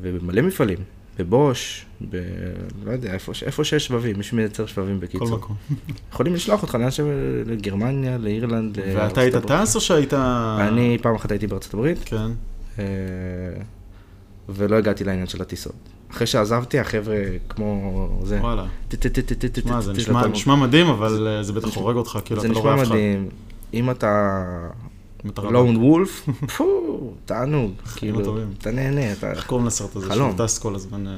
S2: ובמלא מפעלים. בבוש, ב... לא יודע, איפה, ש- איפה שיש שבבים, מי שמייצר שבבים
S1: כל
S2: בקיצור.
S1: מקום.
S2: יכולים לשלוח אותך לאן ש... לגרמניה, לאירלנד, לארצות
S1: ואתה היית
S2: הברית.
S1: טס או שהיית...
S2: אני פעם אחת הייתי בארצות הברית,
S1: כן.
S2: אה, ולא הגעתי לעניין של הטיסות. אחרי שעזבתי, החבר'ה כמו זה.
S1: וואלה.
S2: טה-טה-טה-טה-טה-טה-טה,
S1: שמע, זה
S2: אתה
S1: נשמע-
S2: מ-
S1: נשמע מדהים, אבל אה, זה בטח
S2: נשמע-
S1: הורג אותך, כאילו,
S2: זה
S1: אתה לא רואה
S2: נשמע
S1: אף אחד.
S2: מדהים. לא, אם אתה
S1: אם אתה רואה-
S2: לון וולף, פו, תענוג.
S1: חיים
S2: כאילו,
S1: הטובים.
S2: אתה נהנה, אתה...
S1: איך קוראים לסרט הזה?
S2: חלום.
S1: שהוא טס כל הזמן. אה,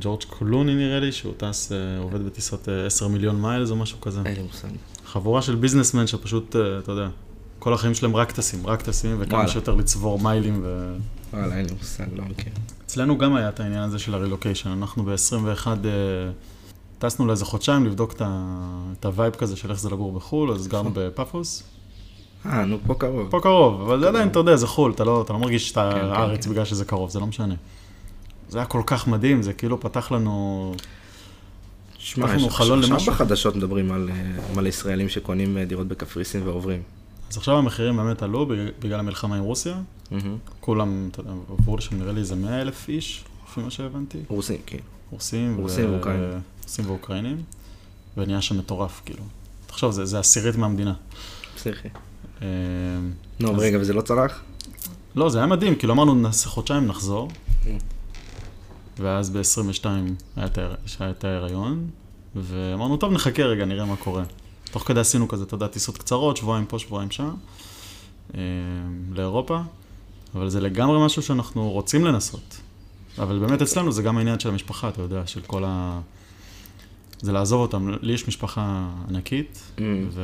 S1: ג'ורג' קולוני נראה לי, שהוא טס, אה, עובד בטיסת אה, 10 מיליון מיילס או משהו כזה.
S2: אין לי מושג.
S1: חבורה של ביזנסמן שפשוט, אה, אתה יודע, כל החיים שלהם רק טסים, רק טסים, וכמה
S2: וואלה.
S1: שיותר לצבור מיילים. ו-
S2: וואלה, אין לי מושג, לא מכיר.
S1: אצלנו גם היה את העניין הזה של הרילוקיישן, אנחנו ב-21 אה, טסנו לאיזה חודשיים לבדוק את ה- את הווייב כזה של איך זה לגור בחו"ל, אז
S2: נכון.
S1: גרנו בפאפוס.
S2: אה, נו, פה קרוב.
S1: פה קרוב, אבל זה עדיין, אתה יודע, זה חו"ל, אתה לא, אתה לא מרגיש שאתה
S2: כן, כן,
S1: הארץ
S2: כן.
S1: בגלל שזה קרוב, זה לא משנה. זה היה כל כך מדהים, זה כאילו פתח לנו...
S2: שמע,
S1: פתחנו
S2: יש-
S1: חלון למשהו.
S2: עכשיו בחדשות מדברים על, אה, על ישראלים שקונים אה, דירות בקפריסין ועוברים.
S1: אז עכשיו המחירים באמת עלו בג- בגלל המלחמה עם רוסיה.
S2: מהמם.
S1: כולם, אתה יודע, עברו לשם נראה לי איזה 100 אלף איש, לפי מה שהבנתי.
S2: רוסים, כאילו.
S1: רוסים, ו-
S2: רוסים ואוקראינים.
S1: רוסים ואוקראינים. ונהיה שם מטורף, כאילו. תחשוב, זה זה עשירית מהמדינה.
S2: פסיכי.
S1: אה,
S2: נו, אבל
S1: אז-
S2: רגע, וזה לא צלח?
S1: לא, זה היה מדהים, כאילו אמרנו נעשה חודשיים, נחזור.
S2: Mm.
S1: ואז ב-22 היה את ההיר- היה את ההיריון, ואמרנו, טוב, נחכה רגע, נראה מה קורה. תוך כדי עשינו כזה, אתה יודע, טיסות קצרות, שבועיים פה, שבועיים שם, אה, לאירופה, אבל זה לגמרי משהו שאנחנו רוצים לנסות. אבל באמת אצלנו זה גם העניין של המשפחה, אתה יודע, של כל ה... זה לעזוב אותם. לי יש משפחה ענקית, ו...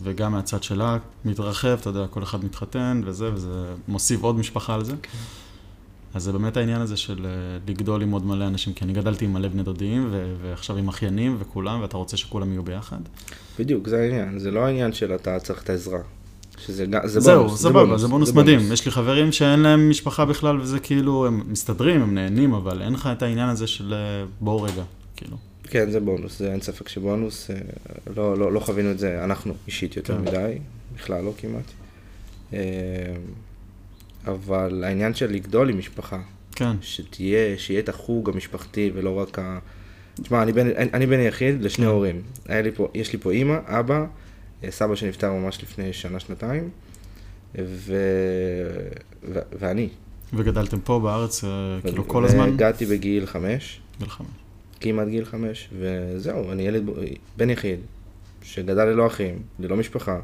S1: וגם מהצד שלה מתרחב, אתה יודע, כל אחד מתחתן וזה, וזה מוסיף עוד משפחה על זה.
S2: כן.
S1: אז זה באמת העניין הזה של אה, לגדול עם עוד מלא אנשים, כי אני גדלתי עם מלא בני דודים, ו- ועכשיו עם אחיינים וכולם, ואתה רוצה שכולם יהיו ביחד.
S2: בדיוק, זה העניין. זה לא העניין של אתה צריך את העזרה. שזה גם, זה
S1: זהו,
S2: בונוס,
S1: סבבה, זה בונוס מדהים. יש לי חברים שאין להם משפחה בכלל, וזה כאילו, הם מסתדרים, הם נהנים, אבל אין לך את העניין הזה של אה, בואו רגע, כאילו.
S2: כן, זה בונוס, זה אין ספק שבונוס, אה, לא, לא, לא חווינו את זה, אנחנו אישית יותר
S1: כן.
S2: מדי, בכלל לא כמעט. אה, אבל העניין של לגדול עם משפחה,
S1: כן,
S2: שתהיה, שיהיה את החוג המשפחתי ולא רק ה... תשמע, אני בן, אני, אני בן יחיד לשני
S1: כן.
S2: הורים. היה לי פה, יש לי פה אימא, אבא, אה, סבא שנפטר ממש לפני שנה-שנתיים, ו... ו... ואני.
S1: וגדלתם פה בארץ, אה, כאילו,
S2: ו-
S1: כל הזמן,
S2: והגעתי בגיל חמש,
S1: מלחמה.
S2: כמעט גיל חמש, וזהו, אני ילד, ב- בן יחיד, שגדל ללא אחים, ללא משפחה,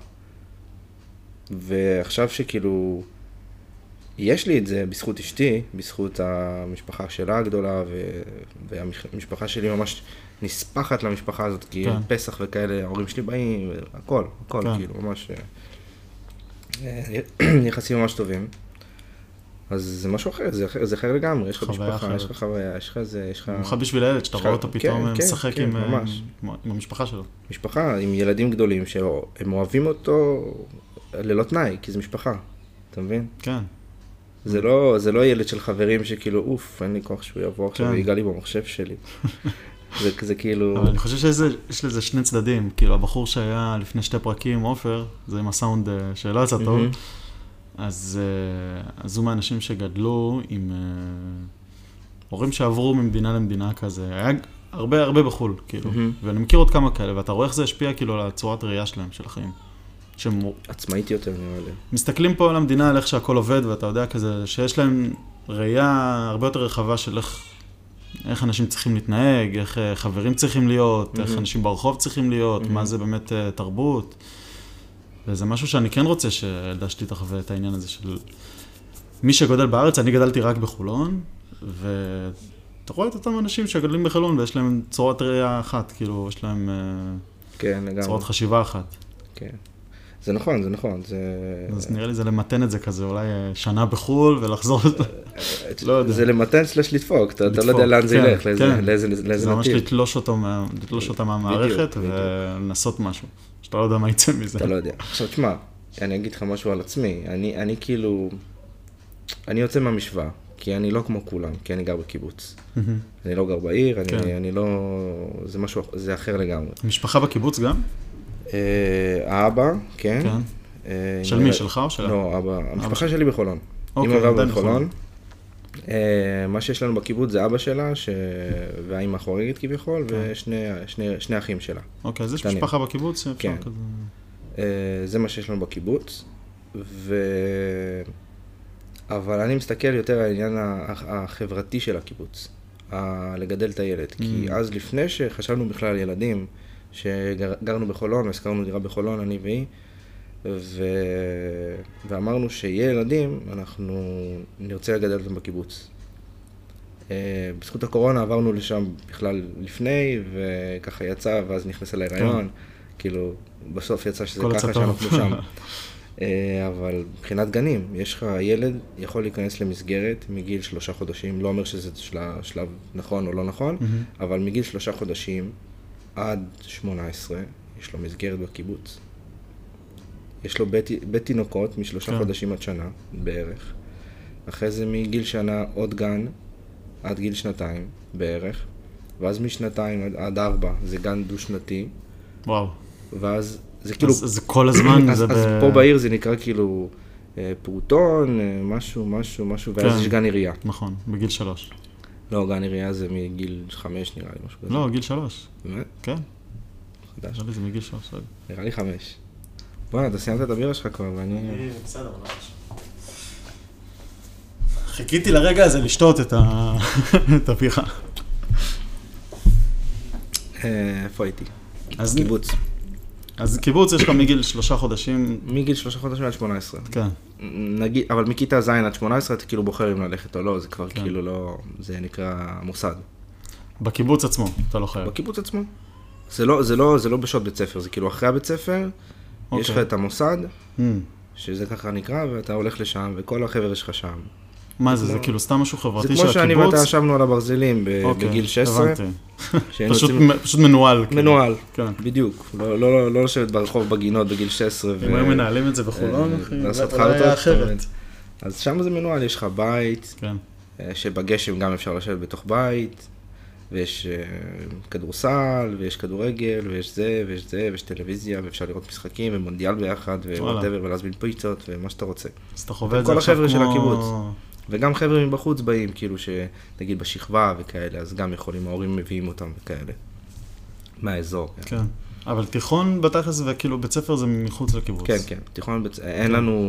S2: ועכשיו שכאילו, יש לי את זה בזכות אשתי, בזכות המשפחה שלה הגדולה, ו... והמשפחה שלי ממש נספחת למשפחה הזאת, כי
S1: כן.
S2: כן. פסח וכאלה, ההורים שלי באים, הכל, הכל,
S1: כן.
S2: כן. כאילו, ממש... אה, יחסים ממש טובים. אז זה משהו אחר, זה אחר, זה אחר לגמרי, יש לך
S1: חוויה
S2: משפחה,
S1: אחרת.
S2: יש לך חוויה, יש לך זה, יש לך...
S1: במיוחד בשביל הילד, שאתה
S2: יש
S1: רואה
S2: לך-
S1: אותו פתאום
S2: כן,
S1: אה,
S2: כן,
S1: משחק
S2: כן,
S1: עם אה,
S2: ממש.
S1: עם- עם המשפחה שלו.
S2: משפחה עם ילדים גדולים שהם אוהבים אותו ללא תנאי, כי זה משפחה, אתה מבין?
S1: כן,
S2: זה לא, זה לא ילד של חברים שכאילו, אוף, אין לי כוח שהוא יבוא עכשיו
S1: כן.
S2: ויגע לי במחשב שלי. זה, זה כאילו,
S1: אבל אני חושב שזה- יש לזה שני צדדים. כאילו, הבחור שהיה לפני שתי פרקים, עופר, זה עם הסאונד אה, שלא יצא טוב,
S2: מהמם.
S1: אז אה, אז הוא מהאנשים שגדלו עם אה, הורים שעברו ממדינה למדינה כזה. היה הרבה הרבה בחו"ל, כאילו.
S2: מהמם.
S1: ואני מכיר עוד כמה כאלה, ואתה רואה איך זה השפיע כאילו על הצורת הראייה שלהם, של החיים. שהם
S2: עצמאית יותר נראה לי.
S1: מסתכלים פה על המדינה, על איך שהכל עובד, ואתה יודע כזה, שיש להם ראייה הרבה יותר רחבה של איך, איך אנשים צריכים להתנהג, איך אה, חברים צריכים להיות, mm-hmm. איך
S2: מהמם.
S1: אנשים ברחוב צריכים להיות, mm-hmm. מה
S2: מהמם.
S1: זה באמת אה, תרבות. וזה משהו שאני כן רוצה שהילדה שלי תחווה את העניין הזה של... מי שגודל בארץ, אני גדלתי רק בחולון, ואתה רואה את אותם אנשים שגדלים בחולון ויש להם צורת ראייה אחת, כאילו, יש להם אה,
S2: כן, לגמרי.
S1: צורת חשיבה אחת.
S2: כן. זה נכון, זה נכון. זה...
S1: אז נראה לי זה למתן את זה כזה, אולי אה, שנה בחו"ל ולחזור... לא יודע.
S2: זה למתן סלש לדפוק, אתה אתה לא
S1: לדפוק,
S2: יודע לאן זה
S1: כן,
S2: ילך, לאיזה-
S1: כן.
S2: לאיזה לאיזה
S1: זה ממש
S2: נתיב.
S1: לתלוש אותו מה- לתלוש אותה
S2: בדיוק,
S1: מהמערכת
S2: בדיוק.
S1: ולנסות משהו, שאתה לא יודע מה יצא מזה.
S2: אתה לא יודע. עכשיו תשמע, אני אגיד לך משהו על עצמי, אני, אני כאילו, אני יוצא מהמשוואה, כי אני לא כמו כולם, כי אני גר בקיבוץ.
S1: מהמם.
S2: אני לא גר בעיר, אני,
S1: כן.
S2: אני לא, זה משהו, זה אחר לגמרי.
S1: משפחה בקיבוץ גם?
S2: אה, האבא, כן.
S1: כן.
S2: אה,
S1: של
S2: עם
S1: מי?
S2: הילד-
S1: שלך או שלה?
S2: לא, אבא, המשפחה
S1: שלך.
S2: שלי בחולון.
S1: אוקיי,
S2: אמא ואבא
S1: עדיין
S2: בחולון.
S1: בחולון.
S2: אה, מה שיש לנו בקיבוץ זה אבא שלה, ש... והאימא חורגת כביכול,
S1: כן.
S2: ושני שני- שני אחים שלה.
S1: אוקיי, אז יש
S2: קטנים.
S1: משפחה בקיבוץ שאפשר
S2: כן.
S1: כזה...
S2: אה, זה מה שיש לנו בקיבוץ, ו... אבל אני מסתכל יותר על העניין הח- החברתי של הקיבוץ, ה- לגדל את הילד. כי
S1: Mm.
S2: אז לפני שחשבנו בכלל על ילדים, שגרנו בחולון, השכרנו דירה בחולון, אני והיא, ו... ואמרנו שיהיה ילדים, אנחנו נרצה לגדל אותם בקיבוץ. אה, בזכות הקורונה עברנו לשם בכלל לפני, וככה יצא, ואז נכנסה להיריון. כאילו, בסוף יצא שזה
S1: הכל יצא
S2: ככה
S1: טוב.
S2: שאנחנו שם. אה, אבל מבחינת גנים, יש לך, ילד יכול להיכנס למסגרת מגיל שלושה חודשים, לא אומר שזה של- שלב נכון או לא נכון,
S1: מהמם.
S2: אבל מגיל שלושה חודשים עד שמונה עשרה, יש לו מסגרת בקיבוץ. יש לו בית, בית תינוקות משלושה
S1: כן.
S2: חודשים עד שנה בערך. אחרי זה מגיל שנה עוד גן עד גיל שנתיים בערך. ואז משנתיים עד, עד ארבע זה גן דו-שנתי.
S1: וואו.
S2: ואז זה כאילו...
S1: כאילו... אז אז זה כל הזמן,
S2: אז,
S1: זה
S2: אז
S1: ב...
S2: פה בעיר זה נקרא כאילו אה, פעוטון, אה, משהו, משהו, משהו, ואז
S1: כן.
S2: יש גן עירייה.
S1: נכון, בגיל שלוש.
S2: לא, גן עירייה זה מגיל חמש נראה לי, משהו כזה.
S1: לא, גיל שלוש.
S2: באמת?
S1: כן,
S2: חדש.
S1: נראה לי זה מגיל שלוש. לא יודע.
S2: נראה לי חמש. בוא'נה, אתה סיימת את הבירה שלך כבר,
S1: אה.
S2: ואני...
S1: בסדר, חיכיתי לרגע הזה לשתות את ה- את הבירה.
S2: אה, איפה הייתי?
S1: אז-
S2: קיבוץ.
S1: אז קיבוץ יש לך מגיל שלושה חודשים,
S2: מגיל שלושה חודשים עד שמונה עשרה.
S1: כן,
S2: נגיד, אבל מכיתה ז' עד שמונה עשרה אתה כאילו בוחר אם ללכת או לא, זה כבר
S1: כן.
S2: כאילו לא... זה נקרא מוסד.
S1: בקיבוץ עצמו, אתה לא חייב.
S2: בקיבוץ עצמו. זה לא, זה לא, זה לא בשעות בית ספר, זה כאילו אחרי הבית ספר, יש לך
S1: אוקיי.
S2: את המוסד,
S1: Mm.
S2: שזה ככה נקרא, ואתה הולך לשם, וכל החבר'ה שלך שם.
S1: מה זה, זה כאילו סתם משהו
S2: לא. זה
S1: חברתי של
S2: כמו
S1: הקיבוץ?
S2: שאני ואתה ישבנו על הברזלים ב-
S1: אוקיי,
S2: בגיל 16,
S1: הבנתי.
S2: שהיינו
S1: פשוט
S2: יוצאים-
S1: מ- פשוט מנוהל. כאילו.
S2: כן, מנוהל,
S1: כן.
S2: בדיוק. לא- לא לא לשבת ברחוב בגינות בגיל 16.
S1: אם
S2: ו-
S1: היו מנהלים את זה בחולון,
S2: אה,
S1: אחי,
S2: לעשות
S1: אולי לא היה
S2: חרטות,
S1: אחרת.
S2: אז שם זה מנוהל, יש לך בית,
S1: כן,
S2: אה, שבגשם גם אפשר לשבת בתוך בית, ויש אה, כדורסל, ויש כדורגל, ויש זה, ויש זה, ויש טלוויזיה, ואפשר לראות משחקים, ומונדיאל ביחד,
S1: וואלה.
S2: ווואטאבר, ולהזמין פיצות, ומה שאתה רוצה.
S1: אז אתה חווה את זה
S2: כל
S1: עכשיו כמו...
S2: החבר'ה של הקיבוץ. וגם חבר'ה מבחוץ באים, כאילו שנגיד בשכבה וכאלה, אז גם יכולים, ההורים מביאים אותם וכאלה. מהאזור. כן,
S1: כן, אבל תיכון בתכלס וכאילו בית ספר זה מחוץ לקיבוץ.
S2: כן, כן. תיכון, בית- אין לנו,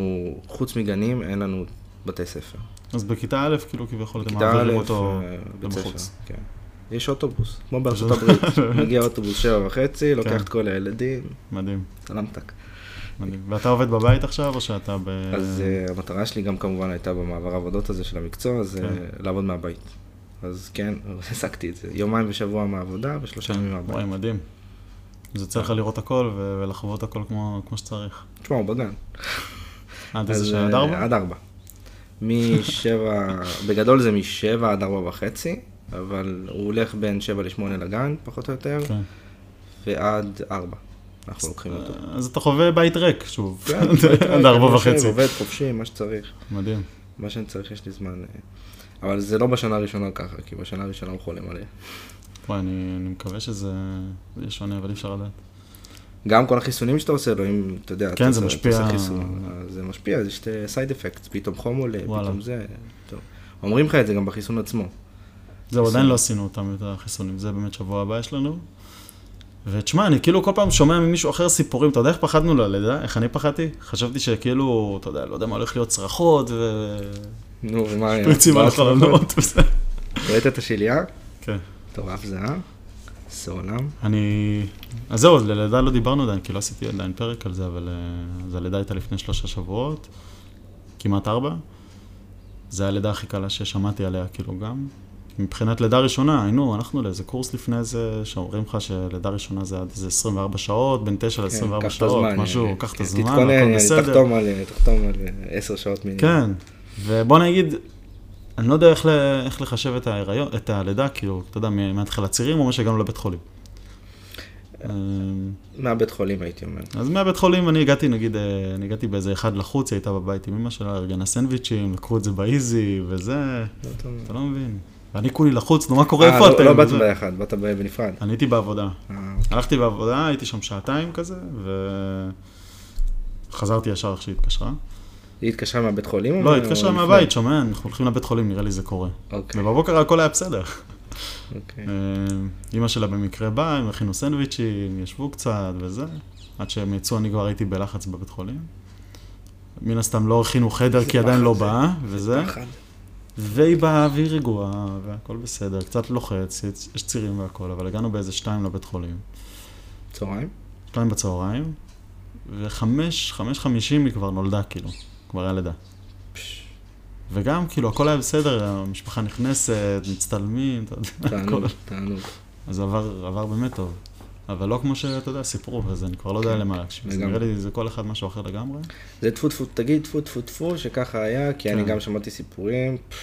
S2: חוץ מגנים, אין לנו בתי ספר.
S1: אז בכיתה א', כאילו כביכול אתם
S2: כיתה א',
S1: מעבירים אותו
S2: אה, בית
S1: למחוץ.
S2: ספר, כן. יש אוטובוס, כמו בארצות הברית. מגיע אוטובוס שבע וחצי, לוקח
S1: כן. אה.
S2: את כל הילדים,
S1: מדהים,
S2: סלמתק.
S1: מדהים. ואתה עובד בבית עכשיו, או שאתה ב...
S2: אז אה, המטרה שלי גם כמובן הייתה במעבר העבודות הזה של המקצוע, זה
S1: כן.
S2: לעבוד מהבית. אז כן, העסקתי את זה. יומיים בשבוע מהעבודה ושלושה ימים מהבית.
S1: כן.
S2: כן.
S1: וואי, מדהים. אז יוצא לך לראות הכל ו- ולחוות הכל כמו כמו שצריך.
S2: תשמע, הוא בגן.
S1: עד איזה
S2: אז,
S1: שעה? עד
S2: אה,
S1: ארבע?
S2: עד ארבע. משבע, בגדול זה משבע עד ארבע וחצי, אבל הוא הולך בין שבע לשמונה לגן, פחות או יותר,
S1: כן.
S2: ועד ארבע. אנחנו לוקחים אותו.
S1: אז אתה חווה בית ריק, שוב.
S2: כן,
S1: עד ארבע
S2: אני יושב,
S1: וחצי.
S2: עובד חופשי, מה שצריך.
S1: מדהים.
S2: מה שאני צריך, יש לי זמן. אה. אבל זה לא בשנה הראשונה ככה, כי בשנה הראשונה הוא חולם עליה.
S1: וואי, אני אני מקווה שזה זה יהיה שונה, אבל אי אפשר לדעת.
S2: גם כל החיסונים שאתה עושה לו, אם אתה יודע,
S1: כן,
S2: אתה
S1: זה
S2: עושה-
S1: משפיע.
S2: אתה עושה חיסון, אז זה משפיע, אז יש סייד אפקט, פתאום חום עולה,
S1: וואלה.
S2: פתאום זה, טוב. אומרים לך את זה גם בחיסון עצמו.
S1: זהו,
S2: חיסון.
S1: עדיין לא עשינו אותם, את החיסונים, זה באמת שבוע הבא יש לנו. ותשמע, אני כאילו כל פעם שומע ממישהו אחר סיפורים, אתה יודע איך פחדנו ללידה? איך אני פחדתי? חשבתי שכאילו, אתה יודע, לא יודע מה הולך להיות צרחות
S2: נו, ומה היה?
S1: ופריצים על
S2: מה עשית?
S1: החלונות וזה.
S2: ראית את השליה?
S1: כן.
S2: מטורף זה, אה? זה עולם.
S1: אני... אז זהו, אז ללידה לא דיברנו עדיין, כי לא עשיתי עדיין פרק על זה, אבל אה, אז הלידה הייתה לפני שלושה שבועות, כמעט ארבע. זה הלידה הכי קלה ששמעתי עליה, כאילו גם. מבחינת לידה ראשונה, היינו, הלכנו לאיזה קורס לפני זה, שאומרים לך שלידה ראשונה זה עד איזה 24 שעות, בין
S2: כן,
S1: 9 ל-24 שעות, משהו, קח את הזמן,
S2: אה, תתכונן, תחתום על אה, תחתום על עשר שעות מינימום.
S1: כן, ובוא נגיד, אני לא יודע איך, ל- איך לחשב את, ההיריון, את הלידה, כאילו, אתה יודע, מ- מהתחלת צירים, או מה שהגענו לבית חולים.
S2: אה,
S1: אמ,
S2: מהבית חולים הייתי אומר.
S1: אז מהבית חולים אני הגעתי, נגיד, אה, אני הגעתי באיזה אחד לחוץ, היא הייתה בבית עם אמא שלה, ארגנה סנדוויצ'ים, לקחו את זה באיזי, וזה,
S2: לא טוב.
S1: אתה לא מבין. ואני כולי לחוץ, נו, מה קורה,
S2: אה,
S1: איפה
S2: לא-
S1: אתם?
S2: לא באת
S1: וזה.
S2: ביחד, באת ב- בנפרד.
S1: אני הייתי בעבודה.
S2: אה,
S1: הלכתי בעבודה, הייתי שם שעתיים כזה, וחזרתי ישר איך שהיא התקשרה.
S2: היא התקשרה מהבית חולים?
S1: לא,
S2: או
S1: היא התקשרה
S2: לפני?
S1: מהבית, שומע, אנחנו הולכים לבית חולים, נראה לי זה קורה.
S2: אה, אוקיי,
S1: ובבוקר הכל היה בסדר. אה,
S2: אוקיי.
S1: אימא שלה במקרה באה, הם הכינו סנדוויצ'ים, ישבו קצת וזה. עד שהם יצאו, אני כבר הייתי בלחץ בבית חולים. מן הסתם לא הכינו חדר,
S2: איזה
S1: כי עדיין
S2: פחד
S1: לא
S2: זה.
S1: באה, וזה.
S2: פחד.
S1: והיא באה, והיא רגועה, והכל בסדר. קצת לוחץ, יש- יש צירים והכל, אבל הגענו באיזה שתיים לבית חולים.
S2: צהריים?
S1: שתיים בצהריים, וחמש, חמש חמישים היא כבר נולדה, כאילו. כבר היה לידה.
S2: פש,
S1: וגם, כאילו, הכל היה בסדר, המשפחה נכנסת, מצטלמים, אתה יודע, הכל.
S2: תענוג, תענוג.
S1: אז עבר, עבר באמת טוב. אבל לא כמו שאתה יודע, סיפרו, אז אני כבר לא יודע
S2: כן,
S1: למה להקשיב. זה
S2: לגמרי.
S1: נראה לי, זה כל אחד משהו אחר לגמרי.
S2: זה טפו טפו, תגיד טפו טפו טפו, שככה היה, כי אני
S1: כן.
S2: גם שמעתי סיפורים פש,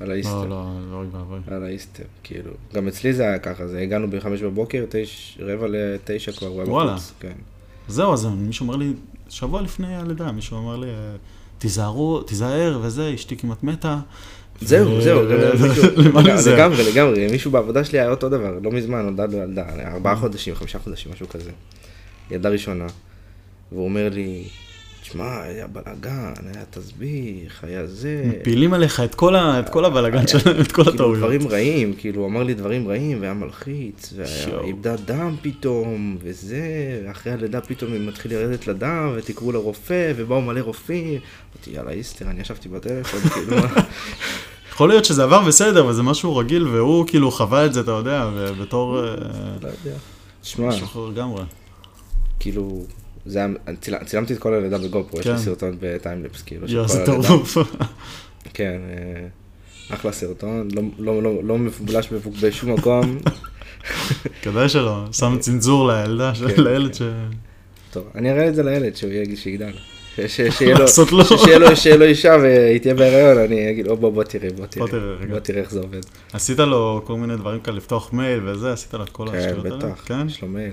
S2: על
S1: לא,
S2: האיסטר.
S1: לא, אוי ואבוי.
S2: על האיסטר, כאילו. גם אצלי זה היה ככה, זה הגענו בחמש בבוקר, תש- רבע לתשע כבר, הוא היה
S1: וואלה.
S2: בחוץ, כן.
S1: זהו, אז מישהו אומר לי, שבוע לפני הלידה, מישהו אמר לי, אה, תיזהרו, תיזהר וזה, אשתי כמעט מתה.
S2: זהו,
S1: ו-
S2: זהו, זה- זה- מישהו-
S1: למה להיזהר?
S2: לגמרי, לגמרי, מישהו בעבודה שלי היה אותו דבר, לא מזמן, נולדה לו ילדה, ארבעה חודשים, חמישה חודשים, משהו כזה. ילדה ראשונה, והוא אומר לי, תשמע, היה בלאגן, היה תסביך, היה זה.
S1: מפילים עליך את כל ה- את כל הבלאגן שלהם, את כל
S2: אה. כאילו
S1: הטעויות.
S2: דברים רעים, כאילו הוא אמר לי דברים רעים והיה מלחיץ, והיה-
S1: שואו.
S2: איבדה דם פתאום, וזה, ואחרי הלידה פתאום היא מתחיל לרדת לדם, ותקראו לרופא, ובאו מלא רופאים, אמרתי יאללה איסטר, אני ישבתי בטלפון, כאילו, מה-
S1: יכול להיות שזה עבר בסדר, וזה משהו רגיל, והוא כאילו חווה את זה, אתה יודע, ובתור... אה,
S2: לא יודע. תשמע,
S1: משהו אחר לגמרי.
S2: כאילו, זה היה, אני צילמ- צילמתי את כל הלידה בגופו, יש לי
S1: כן.
S2: סרטון בטיימלפס, כאילו, של
S1: יואו,
S2: כל
S1: זה
S2: הלידה.
S1: טירוף.
S2: כן, אה, אחלה סרטון, לא- לא- לא- לא מבולש בבוק- בשום מקום,
S1: כדאי שלא, שם צנזור לילדה, של-
S2: אה, כן,
S1: לילד ש...
S2: טוב, אני אראה את זה לילד שהוא יהיה שיגדל. ש- ש- שיהיה לו-
S1: לעשות לו.
S2: ש- שיהיה לו- שיהיה לו אישה והיא תהיה בהיריון, אני אגיד, "או, בוא בוא תראה, בוא
S1: בוא
S2: תראה,
S1: תראה, רגע.
S2: בוא תראה איך זה עובד.
S1: עשית לו כל מיני דברים כאלה, לפתוח מייל וזה, עשית לו את כל
S2: כן,
S1: השטויות האלה?
S2: בטח, יש לו מייל.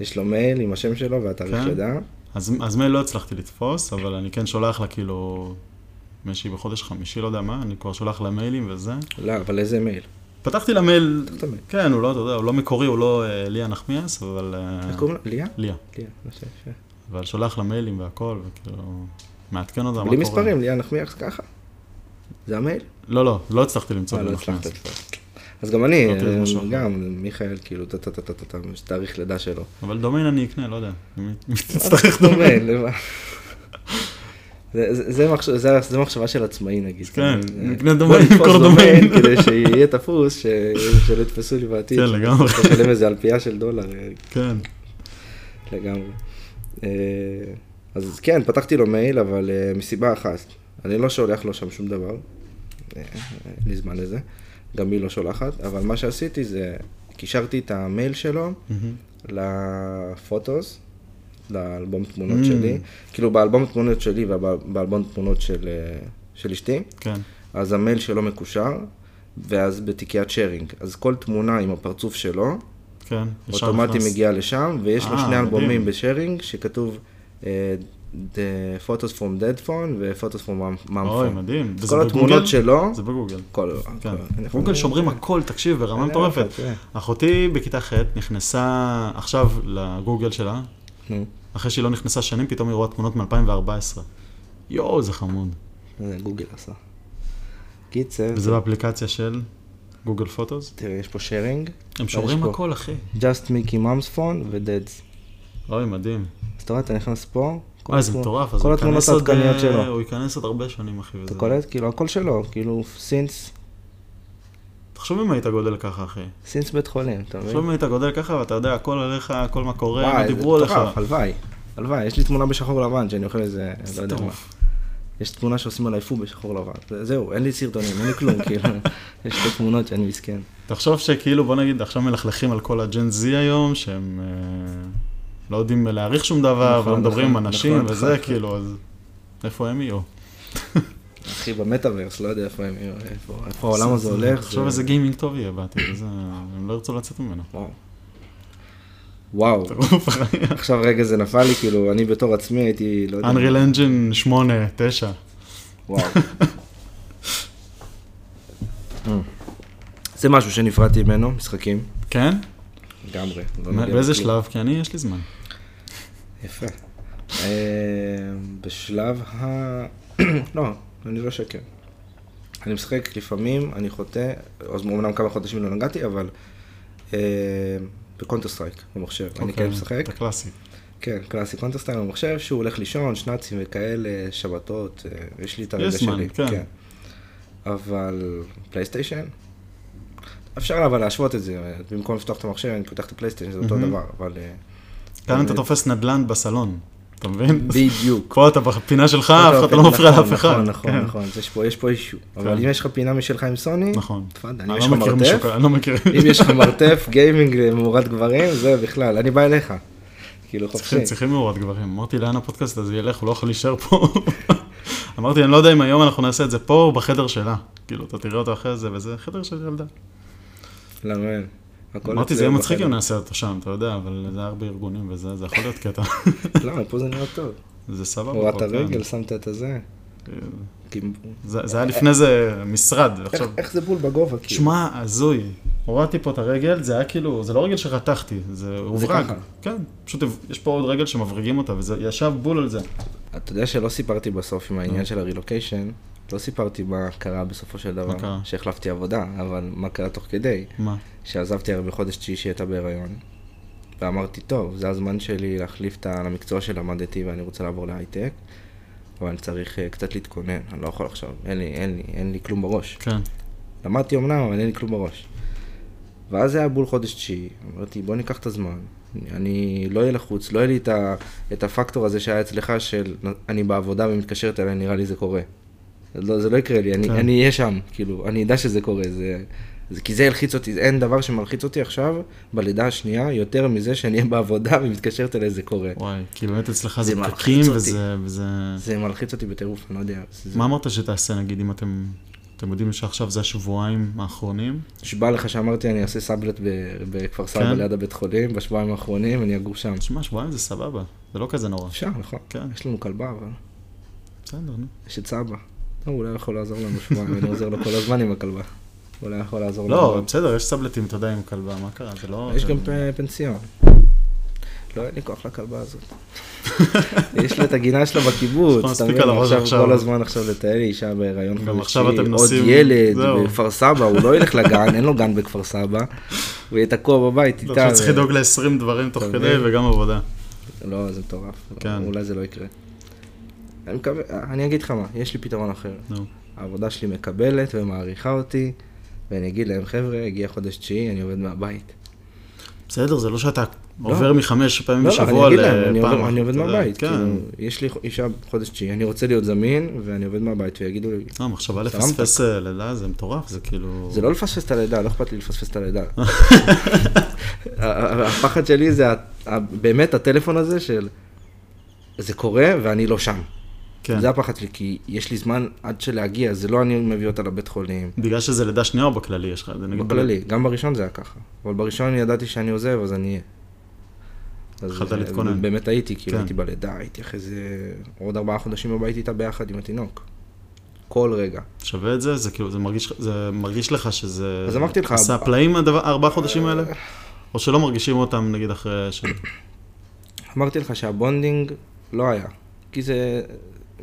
S2: יש לו מייל עם השם שלו והתאריך
S1: כן.
S2: לידה.
S1: אז, אז מייל לא הצלחתי לתפוס, אבל אני כן שולח לה כאילו, מישהי בחודש חמישי, לא יודע מה, אני כבר שולח לה מיילים וזה.
S2: לא, אבל איזה מייל?
S1: פתחתי לה מייל,
S2: פתח את המייל.
S1: כן, הוא לא, אתה יודע, הוא לא מקורי, הוא לא אה, ליה נחמיאס, אבל... אה,
S2: איך קוראים לה? ליה?
S1: ליה.
S2: ליה, לא אני חושב ש-
S1: אבל שולח לה מיילים והכל, וכאילו, מעדכן אותה, מה קורה.
S2: בלי מספרים, ליה נחמיאס ככה. זה המייל?
S1: לא, לא, לא הצלחתי למצוא
S2: אה,
S1: ליה
S2: לא
S1: נחמיאס.
S2: הצלחת. אז גם אני,
S1: לא תראה משהו
S2: אה,
S1: אחר.
S2: גם מיכאל, כאילו, טה טה טה טה טה טה, יש תאריך לידה שלו.
S1: אבל דומיין אני אקנה, לא יודע. אם אם תצטרך דומיין.
S2: אה, דומיין. למה? זה- זה- זה מחש- זה- זה מחשבה של עצמאי נגיד.
S1: כן,
S2: זה-
S1: נקנה
S2: בוא
S1: דומיין,
S2: נתפוס
S1: נמכור דומיין.
S2: כדי שיהיה תפוס, ש- שלא יתפסו לי בעתיד.
S1: כן, לגמרי.
S2: תשלם איזה אלפייה של דולר אה,
S1: כן.
S2: לגמרי. אה, אז כן, פתחתי לו מייל, אבל אה, מסיבה אחת, אני לא שולח לו שם שום דבר, אה, אין לי זמן לזה, גם היא לא שולחת, אבל מה שעשיתי זה, קישרתי את המייל שלו
S1: מהמם.
S2: לפוטוס, לאלבום תמונות
S1: Mm.
S2: שלי, כאילו באלבום תמונות שלי ובאלבום תמונות של, אה, של אשתי,
S1: כן.
S2: אז המייל שלו מקושר, ואז בתיקיית שיירינג, אז כל תמונה עם הפרצוף שלו,
S1: כן, ישר
S2: אוטומטי
S1: נכנס.
S2: מגיע לשם, ויש לו
S1: אה,
S2: שני אלבומים
S1: מדהים.
S2: בשיירינג, שכתוב אה, The Photos from Dead Phone ו-Photos from Mom
S1: אוי,
S2: Phone.
S1: מדהים. וזה
S2: כל
S1: בגוגל?
S2: התמונות שלו,
S1: זה בגוגל.
S2: כל...
S1: כן.
S2: כל- אני יכול-
S1: גוגל שומרים הכל, תקשיב, ברמה
S2: אה,
S1: מטורפת.
S2: אה,
S1: אחותי בכיתה ח' נכנסה עכשיו לגוגל שלה,
S2: נו,
S1: אחרי שהיא לא נכנסה שנים, פתאום היא רואה תמונות מ-2014. יואו, זה חמוד.
S2: כן, זה גוגל עשה. קיצר,
S1: וזה באפליקציה של גוגל פוטוס?
S2: תראה, יש פה שיירינג,
S1: הם שומרים
S2: אה, פה.
S1: הכל, אחי.
S2: Just Mickey Mom's Phone ו-Deads.
S1: אוי, מדהים.
S2: אז אתה רואה, אתה נכנס פה, כל
S1: וואי, אה, זה
S2: התמונות-
S1: מטורף. אז
S2: כל
S1: הוא
S2: התמונות
S1: ייכנס עוד,
S2: העדכניות
S1: אה,
S2: שלו.
S1: הוא ייכנס עוד הרבה שנים, אחי.
S2: אתה
S1: וזה-
S2: קולט? כאילו, הכל שלו, כאילו, סינס
S1: תחשוב אם היית גודל ככה, אחי.
S2: סינס בית חולים, אתה מבין?
S1: תחשוב אם היית גודל ככה, ואתה יודע, הכל עליך, הכל מה קורה, מה
S2: וואי, זה
S1: דיברו עליך.
S2: מטורף, הלוואי, הלוואי, יש לי תמונה בשחור לבן שאני אוכל איזה,
S1: זה
S2: לא יודע מה.
S1: טירוף.
S2: יש תמונה שעושים עליי פו בשחור לבן, זה- זהו, אין לי סרטונים, אין לי כלום, כאילו, יש שתי תמונות שאני מסכן.
S1: תחשוב שכאילו, בוא נגיד, עכשיו מלכלכים על כל הג'ן זי היום, שהם אה, לא יודעים להעריך שום דבר,
S2: נכון,
S1: ולא מדברים עם
S2: נכון,
S1: אנשים
S2: נכון,
S1: וזה,
S2: נכון.
S1: כאילו, אז איפה הם יהיו?
S2: אחי, במטאוורס, לא יודע איפה הם יהיו, איפה- איפה העולם הזה הולך.
S1: תחשוב
S2: זה-
S1: איזה גיימינג טוב יהיה בעתיד, איזה- הם לא ירצו לצאת ממנו.
S2: וואו. וואו,
S1: טירוף, אחי.
S2: עכשיו רגע זה נפל לי, כאילו, אני בתור עצמי הייתי, לא יודע.
S1: Unreal Engine 8, 9.
S2: וואו. Hmm. זה משהו שנפרדתי ממנו, משחקים,
S1: כן?
S2: לגמרי. לא
S1: מה-
S2: נוגע
S1: באיזה
S2: בכלום.
S1: שלב? כי אני, יש לי זמן.
S2: יפה. אה, בשלב ה... לא, אני לא שקר. אני משחק לפעמים, אני חוטא, אז אמנם כמה חודשים לא נגעתי, אבל אה, בקונטר סטרייק במחשב, אני
S1: אוקיי,
S2: כן משחק.
S1: אתה קלאסי.
S2: כן, קלאסי קונטר סטרייק במחשב, שהוא הולך לישון, שנאצים וכאלה, שבתות, אה, יש לי את הרגע
S1: יש
S2: שלי.
S1: זמן, כן.
S2: אבל פלייסטיישן? אפשר אבל להשוות את זה, אה, במקום לפתוח את המחשב, אני פותח את הפלייסטיישן, זה אותו
S1: מהמם.
S2: דבר, אבל... אה,
S1: כאן אתה
S2: באמת.
S1: תופס נדל"ן בסלון, אתה מבין?
S2: בדיוק.
S1: פה אתה בפינה שלך, אף אחד לא מפריע
S2: נכון,
S1: לאף אחד.
S2: נכון, נכון,
S1: כן.
S2: נכון, אז יש פה- יש פה אישו. אבל
S1: כן.
S2: אם יש לך פינה משלך עם סוני,
S1: נכון.
S2: תפאדל, אם
S1: אני
S2: יש לך
S1: לא מכיר מישהו
S2: מרתף,
S1: כזה, אני לא מכיר.
S2: אם יש לך מרתף, גיימינג למאורת גברים, זה בכלל, אני בא אליך. כאילו חופשי.
S1: צריכים- צריכים מאורת גברים. אמרתי לאן הפודקאסט הזה ילך, הוא לא יכול להישאר פה. אמרתי, אני לא יודע אם היום אנחנו נעשה את זה פה או בחדר שלה. כאילו, אתה תראה אותו אחרי זה, וזה חדר של ילדה.
S2: למה אין? הכל
S1: אמרתי, זה
S2: אצלנו
S1: יהיה מצחיק
S2: בחדר.
S1: אם נעשה אותו שם, אתה יודע, אבל זה היה הרבה ארגונים וזה, זה יכול להיות קטע.
S2: למה, פה זה נראה טוב.
S1: זה סבבה.
S2: הורדת
S1: אבל כן.
S2: רגל, שמת את הזה. כאילו,
S1: זה זה היה לפני זה משרד,
S2: איך-
S1: עכשיו...
S2: איך זה בול בגובה, כאילו?
S1: שמע, הזוי. הורדתי פה את הרגל, זה היה כאילו, זה לא רגל שרתחתי, זה הוברג.
S2: ככה.
S1: כן, פשוט יש פה עוד רגל שמבריגים אותה, וזה ישב בול על זה.
S2: אתה יודע שלא סיפרתי בסוף עם
S1: אה.
S2: העניין של הרילוקיישן, לא סיפרתי מה קרה בסופו של
S1: מה קרה?
S2: דבר, שהחלפתי עבודה, אבל מה קרה תוך כדי,
S1: מה?
S2: שעזבתי הרי בחודש תשיעי שהיא הייתה בהיריון, ואמרתי, טוב, זה הזמן שלי להחליף את המקצוע שלמדתי ואני רוצה לעבור להייטק, אבל אני צריך אה, קצת להתכונן, אני לא יכול עכשיו, אין לי, אין לי, אין לי כלום בראש.
S1: כן.
S2: למדתי אמנם, אבל אין לי כלום בראש. ואז זה היה בול חודש תשיעי, אמרתי בוא ניקח את הזמן, אני לא אהיה לחוץ, לא יהיה לי את, ה, את הפקטור הזה שהיה אצלך של אני בעבודה ומתקשרת אליי, נראה לי זה קורה. לא, זה לא יקרה לי, אני,
S1: כן.
S2: כן. אני אהיה שם, כאילו, אני אדע שזה קורה, זה, זה, כי זה ילחיץ אותי, אין דבר שמלחיץ אותי עכשיו, בלידה השנייה, יותר מזה שאני אהיה בעבודה ומתקשרת אליי, זה קורה.
S1: וואי, כי באמת אצלך זה
S2: זה מלחיץ
S1: פקקים,
S2: אותי.
S1: וזה... וזה...
S2: זה מלחיץ אותי בטירוף, אני לא יודע. זה,
S1: מה אמרת שתעשה, נגיד, אם אתם... אתם יודעים שעכשיו זה השבועיים האחרונים?
S2: נשבע לך שאמרתי, אני אעשה סאבלט ב- בכפר סבא
S1: כן.
S2: ליד הבית חולים, בשבועיים האחרונים, אני אגור שם.
S1: תשמע, שבועיים זה סבבה, זה לא כזה נורא.
S2: אפשר, נכון.
S1: כן,
S2: יש לנו כלבה, אבל
S1: בסדר, נו.
S2: יש את סבא. לא, הוא לא יכול לעזור לנו שבועיים, אני עוזר לו כל הזמן עם הכלבה. הוא לא יכול לעזור לנו.
S1: לא, בסדר, יש סבלטים, אתה יודע, עם כלבה, מה קרה? זה לא...
S2: יש
S1: זה-
S2: גם פ- פנסיון. לא, אין לי כוח לכלבה הזאת. יש לה את הגינה שלה
S1: יש
S2: בקיבוץ,
S1: לך
S2: אתה
S1: מספיק
S2: מבין?
S1: על הראש
S2: עכשיו
S1: עכשיו.
S2: כל הזמן עכשיו לטייל לי אישה בהיריון
S1: גם
S2: חמישי,
S1: עכשיו אתם
S2: עוד
S1: נוסעים-
S2: ילד
S1: זהו.
S2: בכפר סבא, הוא לא ילך לגן, אין לו גן בכפר סבא, הוא יהיה תקוע בבית איתה.
S1: אתה לא, עכשיו צריך
S2: ו-
S1: לדאוג ל-20 דברים תוך
S2: אתה
S1: כדי,
S2: מבין?
S1: וגם עבודה.
S2: לא, זה מטורף.
S1: כן.
S2: כן. אולי זה לא יקרה. אני מקווה, אני אגיד לך מה, יש לי פתרון אחר.
S1: נו.
S2: העבודה שלי מקבלת ומעריכה אותי, ואני אגיד להם, חבר'ה, הגיע חודש תשיעי, אני עובד מהבית.
S1: בסדר, זה לא שאתה עובר מחמש פעמים
S2: לא, לא, אני
S1: בשבוע
S2: אגיד להם, אני
S1: לפעם
S2: עובד- אני עובד
S1: אתה יודע,
S2: מהבית.
S1: כן.
S2: כאילו, יש לי אישה חודש תשיעי, אני רוצה להיות זמין, ואני עובד מהבית, ויגידו לי,
S1: לא, מחשבה
S2: סלמת.
S1: לפספס אה, לידה זה מטורף, זה כאילו...
S2: זה לא לפספס את הלידה, לא אכפת לי לפספס את הלידה. ה- ה- הפחד שלי זה ה- ה- באמת הטלפון הזה של, זה קורה ואני לא שם.
S1: כן.
S2: זה הפחד שלי, כי יש לי זמן עד שלהגיע, זה לא אני מביא אותה לבית חולים.
S1: בגלל שזה לידה שנייה או בכללי יש לך? זה נגיד
S2: בכללי, גם בראשון זה היה ככה. אבל בראשון ידעתי שאני עוזב, אז אני אהיה. אז,
S1: התחלת
S2: אה,
S1: להתכונן.
S2: באמת הייתי, כאילו
S1: כן.
S2: הייתי בלידה, הייתי אחרי זה עוד ארבעה חודשים בבית איתה ביחד עם התינוק. כל רגע.
S1: שווה את זה? זה כאילו, זה מרגיש, זה מרגיש לך שזה...
S2: אז אמרתי לך, אה,
S1: עשה
S2: ארבע-
S1: פלאים הדבר- ארבעה חודשים האלה? או שלא מרגישים אותם נגיד אחרי ש...
S2: אמרתי לך שהבונדינג לא היה. כי זה,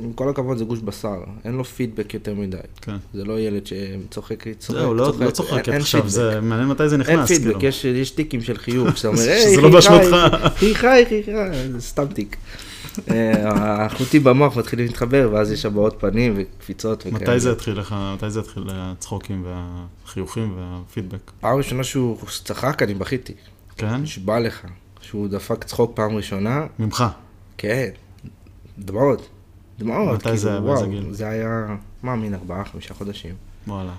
S2: עם כל הכבוד זה גוש בשר, אין לו פידבק יותר מדי.
S1: כן.
S2: זה לא ילד שצוחק, צוחק,
S1: זהו, לא לא צוחקת
S2: אין- אין
S1: עכשיו,
S2: פידבק.
S1: זה מעניין מתי זה
S2: אין
S1: נכנס, כאילו.
S2: פידבק, יש יש טיקים של חיוך, שאתה אומר,
S1: שזה
S2: היי,
S1: לא
S2: חייכי,
S1: באשמתך."
S2: חייכי, חייכי, סתם טיק. אה, החוטים במוח מתחילים להתחבר, ואז יש הבעות פנים וקפיצות וכאלה.
S1: מתי זה התחיל לך, מתי זה התחיל אה, הצחוקים והחיוכים והפידבק?
S2: פעם ראשונה שהוא צחק, אני בכיתי.
S1: כן?
S2: נשבע לך. שהוא דפק צחוק פעם ראשונה,
S1: ממך.
S2: כן, דמעות. דמעות,
S1: מתי זה היה?
S2: כאילו,
S1: באיזה
S2: וואו.
S1: גיל?
S2: זה היה, מה, מין ארבעה, חמישה חודשים,
S1: וואלה.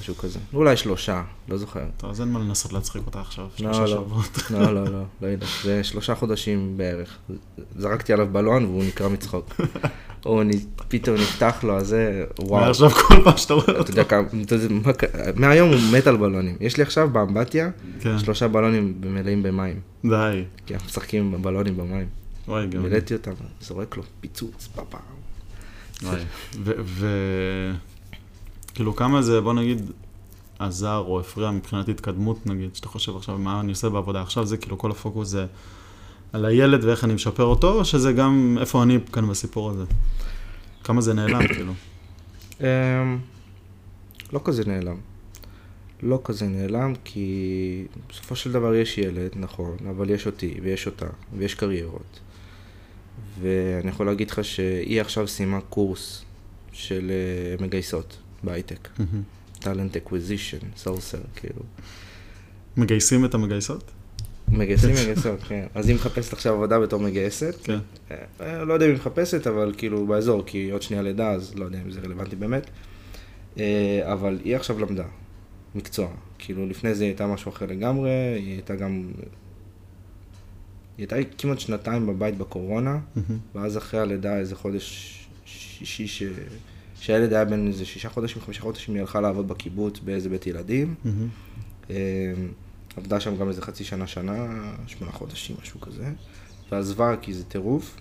S2: משהו כזה. אולי שלושה, לא זוכר.
S1: טוב, אז אין מה לנסות להצחיק אותה עכשיו.
S2: לא.
S1: שלושה שבועות.
S2: לא, לא, לא, לא יודע. זה שלושה חודשים בערך. זרקתי עליו בלון והוא נקרע מצחוק. או נ- פתאום נפתח לו, אז זה, וואו.
S1: מעכשיו כל פעם שאתה רואה
S2: אתה
S1: אותו.
S2: יודע כמה, אתה יודע, מה ק- מהיום הוא מת על בלונים. יש לי עכשיו באמבטיה,
S1: כן.
S2: שלושה בלונים מלאים במים.
S1: די.
S2: כי אנחנו משחקים עם הבלונים במים.
S1: וואי, גם.
S2: מילאתי אותם, זורק לו פיצוץ, פאפה.
S1: וואי. ו- ו... כאילו, כמה זה, בוא נגיד, עזר או הפריע מבחינת התקדמות, נגיד, שאתה חושב עכשיו, מה אני עושה בעבודה עכשיו, זה כאילו, כל הפוקוס זה על הילד ואיך אני משפר אותו, או שזה גם איפה אני כאן בסיפור הזה? כמה זה נעלם, כאילו?
S2: אמ, לא כזה נעלם. לא כזה נעלם, כי בסופו של דבר יש ילד, נכון, אבל יש אותי, ויש אותה, ויש קריירות. ואני יכול להגיד לך שהיא עכשיו סיימה קורס של אה, מגייסות בהייטק. טאלנט אקוויזישן, סורסר, כאילו.
S1: מגייסים את המגייסות?
S2: מגייסים מגייסות, כן. אז היא מחפשת עכשיו עבודה בתור מגייסת.
S1: כן.
S2: אה, אה, לא יודע אם היא מחפשת, אבל כאילו באזור, כי עוד שנייה לידה, אז לא יודע אם זה רלוונטי באמת. אה, אבל היא עכשיו למדה מקצוע. כאילו, לפני זה היא הייתה משהו אחר לגמרי, היא הייתה גם... היא הייתה כמעט שנתיים בבית בקורונה,
S1: מהמם.
S2: ואז אחרי הלידה איזה חודש שישי, ש... שהילד היה בן איזה שישה חודשים, חמישה חודשים, היא הלכה לעבוד בקיבוץ באיזה בית ילדים.
S1: מהמם.
S2: אה, עבדה שם גם איזה חצי שנה, שנה, שמונה חודשים, משהו כזה, ועזבה כי זה טירוף.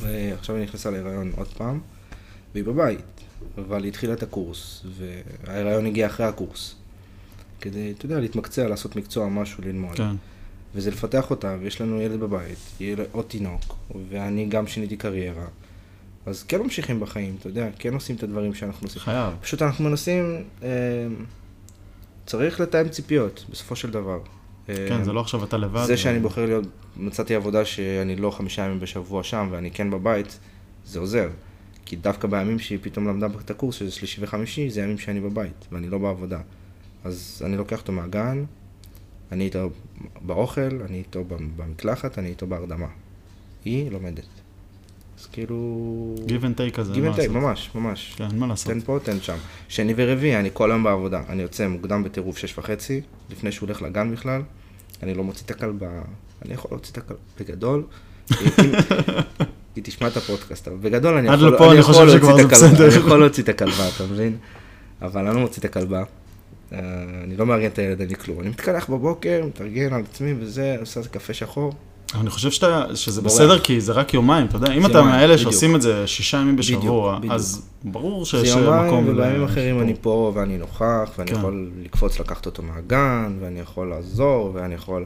S2: ועכשיו היא נכנסה להיריון עוד פעם, והיא בבית, אבל היא התחילה את הקורס, וההיריון הגיע אחרי הקורס. כדי, אתה יודע, להתמקצע, לעשות מקצוע, משהו, ללמוד.
S1: כן.
S2: וזה לפתח אותה, ויש לנו ילד בבית, יהיה לה עוד תינוק, ואני גם שיניתי קריירה. אז כן ממשיכים בחיים, אתה יודע, כן עושים את הדברים שאנחנו עושים.
S1: חייב.
S2: פשוט אנחנו מנסים, אה, צריך לתאם ציפיות, בסופו של דבר. אה,
S1: כן, זה לא עכשיו אתה לבד.
S2: זה שאני בוחר להיות, מצאתי עבודה שאני לא חמישה ימים בשבוע שם ואני כן בבית, זה עוזר. כי דווקא בימים שהיא פתאום למדה את הקורס, שזה שלישי וחמישי, זה ימים שאני בבית ואני לא בעבודה. אז אני לוקח אותו מהגן, אני איתו באוכל, אני איתו במקלחת, אני איתו בהרדמה. היא לומדת. אז כאילו...
S1: give and take כזה,
S2: give
S1: אין מה
S2: and take,
S1: לעשות.
S2: ממש, ממש.
S1: כן, אין מה לעשות.
S2: תן פה, תן שם. שני ורביעי, אני כל היום בעבודה. אני יוצא מוקדם בטירוף שש וחצי, לפני שהוא הולך לגן בכלל. אני לא מוציא את הכלבה, אני יכול להוציא את הכלבה, בגדול. אם- היא תשמע את הפודקאסט, אבל בגדול אני
S1: עד
S2: יכול,
S1: לפה אני
S2: יכול
S1: חושב
S2: להוציא
S1: שכבר זה
S2: את הכלבה,
S1: בסדר.
S2: אני יכול להוציא את הכלבה, אתה מבין? אבל אני לא מוציא את הכלבה. אה, אני לא מארגן את הילד, אני כלום. אני מתקלח בבוקר, מתארגן על עצמי וזה, עושה קפה שחור.
S1: אבל אני חושב שאתה, שזה
S2: בורח.
S1: בסדר, כי זה רק יומיים, אתה יודע, אם
S2: זה
S1: אתה
S2: יומיים,
S1: מאלה
S2: בדיוק.
S1: שעושים את זה שישה ימים בשבוע,
S2: בדיוק,
S1: אז ברור
S2: זה
S1: שיש אה, מקום.
S2: יומיים,
S1: ל-
S2: ובימים אחרים אני פה ואני נוכח, ואני
S1: כן.
S2: יכול לקפוץ לקחת אותו מהגן, ואני יכול לעזור, ואני יכול,